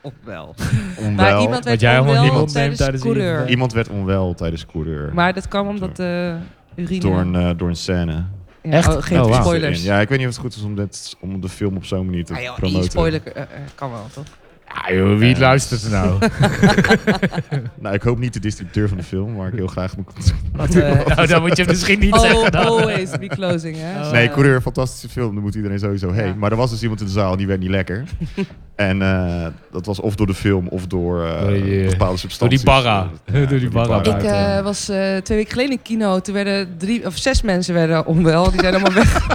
Speaker 2: Onwel.
Speaker 4: Onwel.
Speaker 2: Maar iemand werd
Speaker 1: Wat jij helemaal
Speaker 2: onwel
Speaker 1: niet opneemt
Speaker 2: tijdens,
Speaker 1: tijdens
Speaker 2: coureur.
Speaker 1: iemand-
Speaker 4: Iemand werd onwel tijdens coureur.
Speaker 2: Maar dat kwam omdat de urine...
Speaker 4: door, een, eh, door een scène.
Speaker 2: Ja,
Speaker 1: Echt?
Speaker 2: oh, geen
Speaker 1: Oh, wauw.
Speaker 2: spoilers.
Speaker 4: Ja, ik weet niet of het goed is om, dit, om de film op zo'n manier te
Speaker 2: Ah, joh, één
Speaker 4: promoten.
Speaker 2: spoiler eh, eh, kan wel, toch?
Speaker 1: Ja, joh, wie
Speaker 4: Eh.
Speaker 1: luistert er nou?
Speaker 4: Nou, ik hoop niet de distributeur van de film, maar ik heel graag moet.
Speaker 3: Wat, eh,
Speaker 1: nou, dat moet je misschien niet
Speaker 2: Oh,
Speaker 1: zeggen. dan.
Speaker 2: always be closing, hè?
Speaker 3: Oh.
Speaker 4: Nee, coureur, fantastische film. Daar moet iedereen sowieso heen.
Speaker 2: Eh. Ja.
Speaker 4: Maar er was dus iemand in de zaal die werd niet lekker. en eh, dat was of door de film of door eh,
Speaker 1: Door die, eh,
Speaker 4: bepaalde
Speaker 1: Door
Speaker 4: substanties.
Speaker 1: die barra.
Speaker 4: Ja,
Speaker 1: door die barra.
Speaker 2: Ik eh,
Speaker 1: buiten.
Speaker 2: was eh, twee weken geleden in kino. Toen werden drie of zes mensen werden onwel. Die zijn allemaal weg.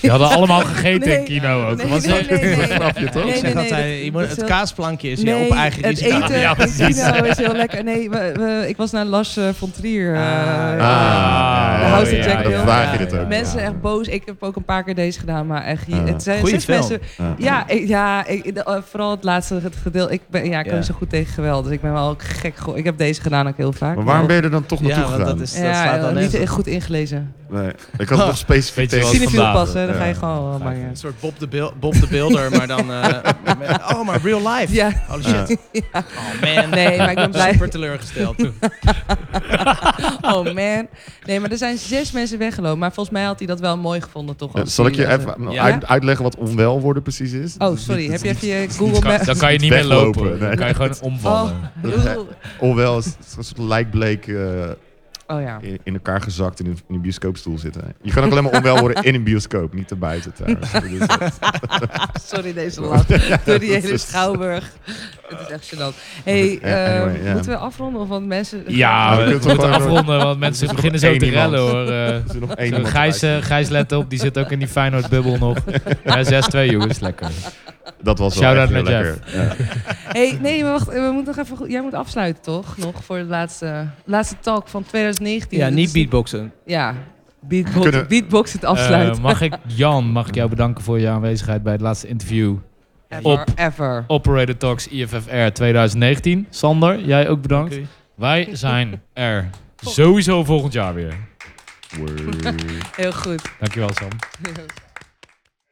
Speaker 1: Die hadden allemaal gegeten
Speaker 2: Nee,
Speaker 1: in kino ook.
Speaker 2: nee,
Speaker 1: was
Speaker 2: nee, nee, nee.
Speaker 4: grapje,
Speaker 2: Nee,
Speaker 4: toch?
Speaker 3: ik
Speaker 2: nee,
Speaker 3: zeg
Speaker 2: nee,
Speaker 3: altijd,
Speaker 2: dat-
Speaker 3: je moet-
Speaker 2: dat is
Speaker 3: het
Speaker 2: heel-
Speaker 3: kaasplankje is op eigen
Speaker 2: het
Speaker 3: risico.
Speaker 2: eten
Speaker 1: Ja,
Speaker 2: in
Speaker 1: precies.
Speaker 2: kino is heel lekker. Nee, we, we- ik was naar Lars eh, von Trier. eh,
Speaker 3: Ah.
Speaker 4: Ah,
Speaker 2: de House of Jack
Speaker 4: dan
Speaker 2: Hill.
Speaker 4: vraag je dit ook.
Speaker 2: Mensen echt boos. Ik heb ook een paar keer deze gedaan, maar echt,
Speaker 4: Ah.
Speaker 2: het zijn
Speaker 3: Goeie
Speaker 2: zes
Speaker 3: film.
Speaker 2: mensen.
Speaker 4: Ja.
Speaker 2: Ja, ik- ja ik, de- eh, vooral het laatste ged- gedeelte. Ik ben, ja, ik kan
Speaker 3: Ja.
Speaker 2: niet zo goed tegen geweld, dus ik ben wel ook gek. ge- Ik heb deze gedaan ook heel vaak.
Speaker 4: Maar waarom ben je er dan toch
Speaker 3: Ja,
Speaker 4: naartoe
Speaker 3: want
Speaker 4: gegaan?
Speaker 3: dat, is, dat
Speaker 2: ja,
Speaker 3: slaat dan
Speaker 2: niet
Speaker 3: nergens
Speaker 2: echt goed ingelezen.
Speaker 4: Nee, ik had het nog specifiek
Speaker 1: Weet je
Speaker 4: tegen...
Speaker 1: wel,
Speaker 2: Cinefiel
Speaker 1: vandaag,
Speaker 2: passen, dan
Speaker 4: ja.
Speaker 2: ga je gewoon... wel maar, eh, ja.
Speaker 3: Een soort Bob de, Bil- Bob de Builder, maar dan... eh, met- oh, maar real life.
Speaker 2: Ja.
Speaker 3: Holy shit. Oh man.
Speaker 2: Nee, maar ik ben blij.
Speaker 3: Super teleurgesteld.
Speaker 2: Oh man. Nee, maar er zijn zes mensen weggelopen. Maar volgens mij had hij dat wel mooi gevonden, toch?
Speaker 4: Ja,
Speaker 2: Als
Speaker 4: zal ik
Speaker 2: hij
Speaker 4: je
Speaker 2: dat-
Speaker 4: even
Speaker 3: Ja.
Speaker 4: uit- uitleggen wat onwel worden precies is?
Speaker 2: Oh, sorry. Heb je even je
Speaker 1: Dan
Speaker 2: Google
Speaker 1: kan,
Speaker 2: Maps...
Speaker 1: dan kan je niet meer
Speaker 4: Weglopen,
Speaker 1: lopen. Dan
Speaker 4: nee.
Speaker 1: kan je gewoon
Speaker 2: Oh,
Speaker 1: omvallen.
Speaker 2: joe.
Speaker 4: Onwel is een soort lijkbleek eh,
Speaker 2: oh ja.
Speaker 4: in, in elkaar gezakt in een, in een bioscoopstoel zitten. Je kan ook alleen maar onwel worden in een bioscoop, niet erbuiten trouwens. Dus dat-
Speaker 2: Sorry deze lap. Door die hele schouwburg. Het is echt gênant. hey, eh,
Speaker 4: Anyway, ja.
Speaker 2: moeten we afronden? Of want mensen...
Speaker 1: Ja,
Speaker 4: we
Speaker 1: we,
Speaker 4: kunnen
Speaker 1: moeten
Speaker 4: toch gewoon-
Speaker 1: afronden, want mensen
Speaker 4: nog
Speaker 1: beginnen zo
Speaker 4: één
Speaker 1: te
Speaker 4: iemand.
Speaker 1: rellen hoor. Eh,
Speaker 4: Er is nog één
Speaker 1: zo,
Speaker 4: iemand
Speaker 1: Gijs, eh,
Speaker 4: erbij.
Speaker 1: Gijs, let op, die zit ook in die Feyenoord-bubbel nog. Ja, 6-2 jongens, lekker.
Speaker 4: Dat was wel
Speaker 1: Shout-out
Speaker 4: echt heel
Speaker 1: naar
Speaker 4: lekker. Ja.
Speaker 2: hey, nee, maar wacht. We moeten nog even... goed- Jij moet afsluiten, toch? Nog voor de laatste, laatste talk van 2019.
Speaker 3: ja,
Speaker 2: Dat
Speaker 3: niet
Speaker 2: is-
Speaker 3: beatboxen.
Speaker 2: Ja. Beatbox,
Speaker 4: Kunnen-
Speaker 2: beatbox het afsluiten.
Speaker 1: Eh, mag ik, Jan, mag ik jou bedanken voor je aanwezigheid bij het laatste interview.
Speaker 2: ever,
Speaker 1: op.
Speaker 2: ever.
Speaker 1: Operator Talks IFFR 2019. Sander, jij ook bedankt.
Speaker 3: Dank u.
Speaker 1: Wij zijn er sowieso volgend jaar weer.
Speaker 4: Word.
Speaker 2: Heel goed.
Speaker 1: Dankjewel Sam.
Speaker 2: Heel goed.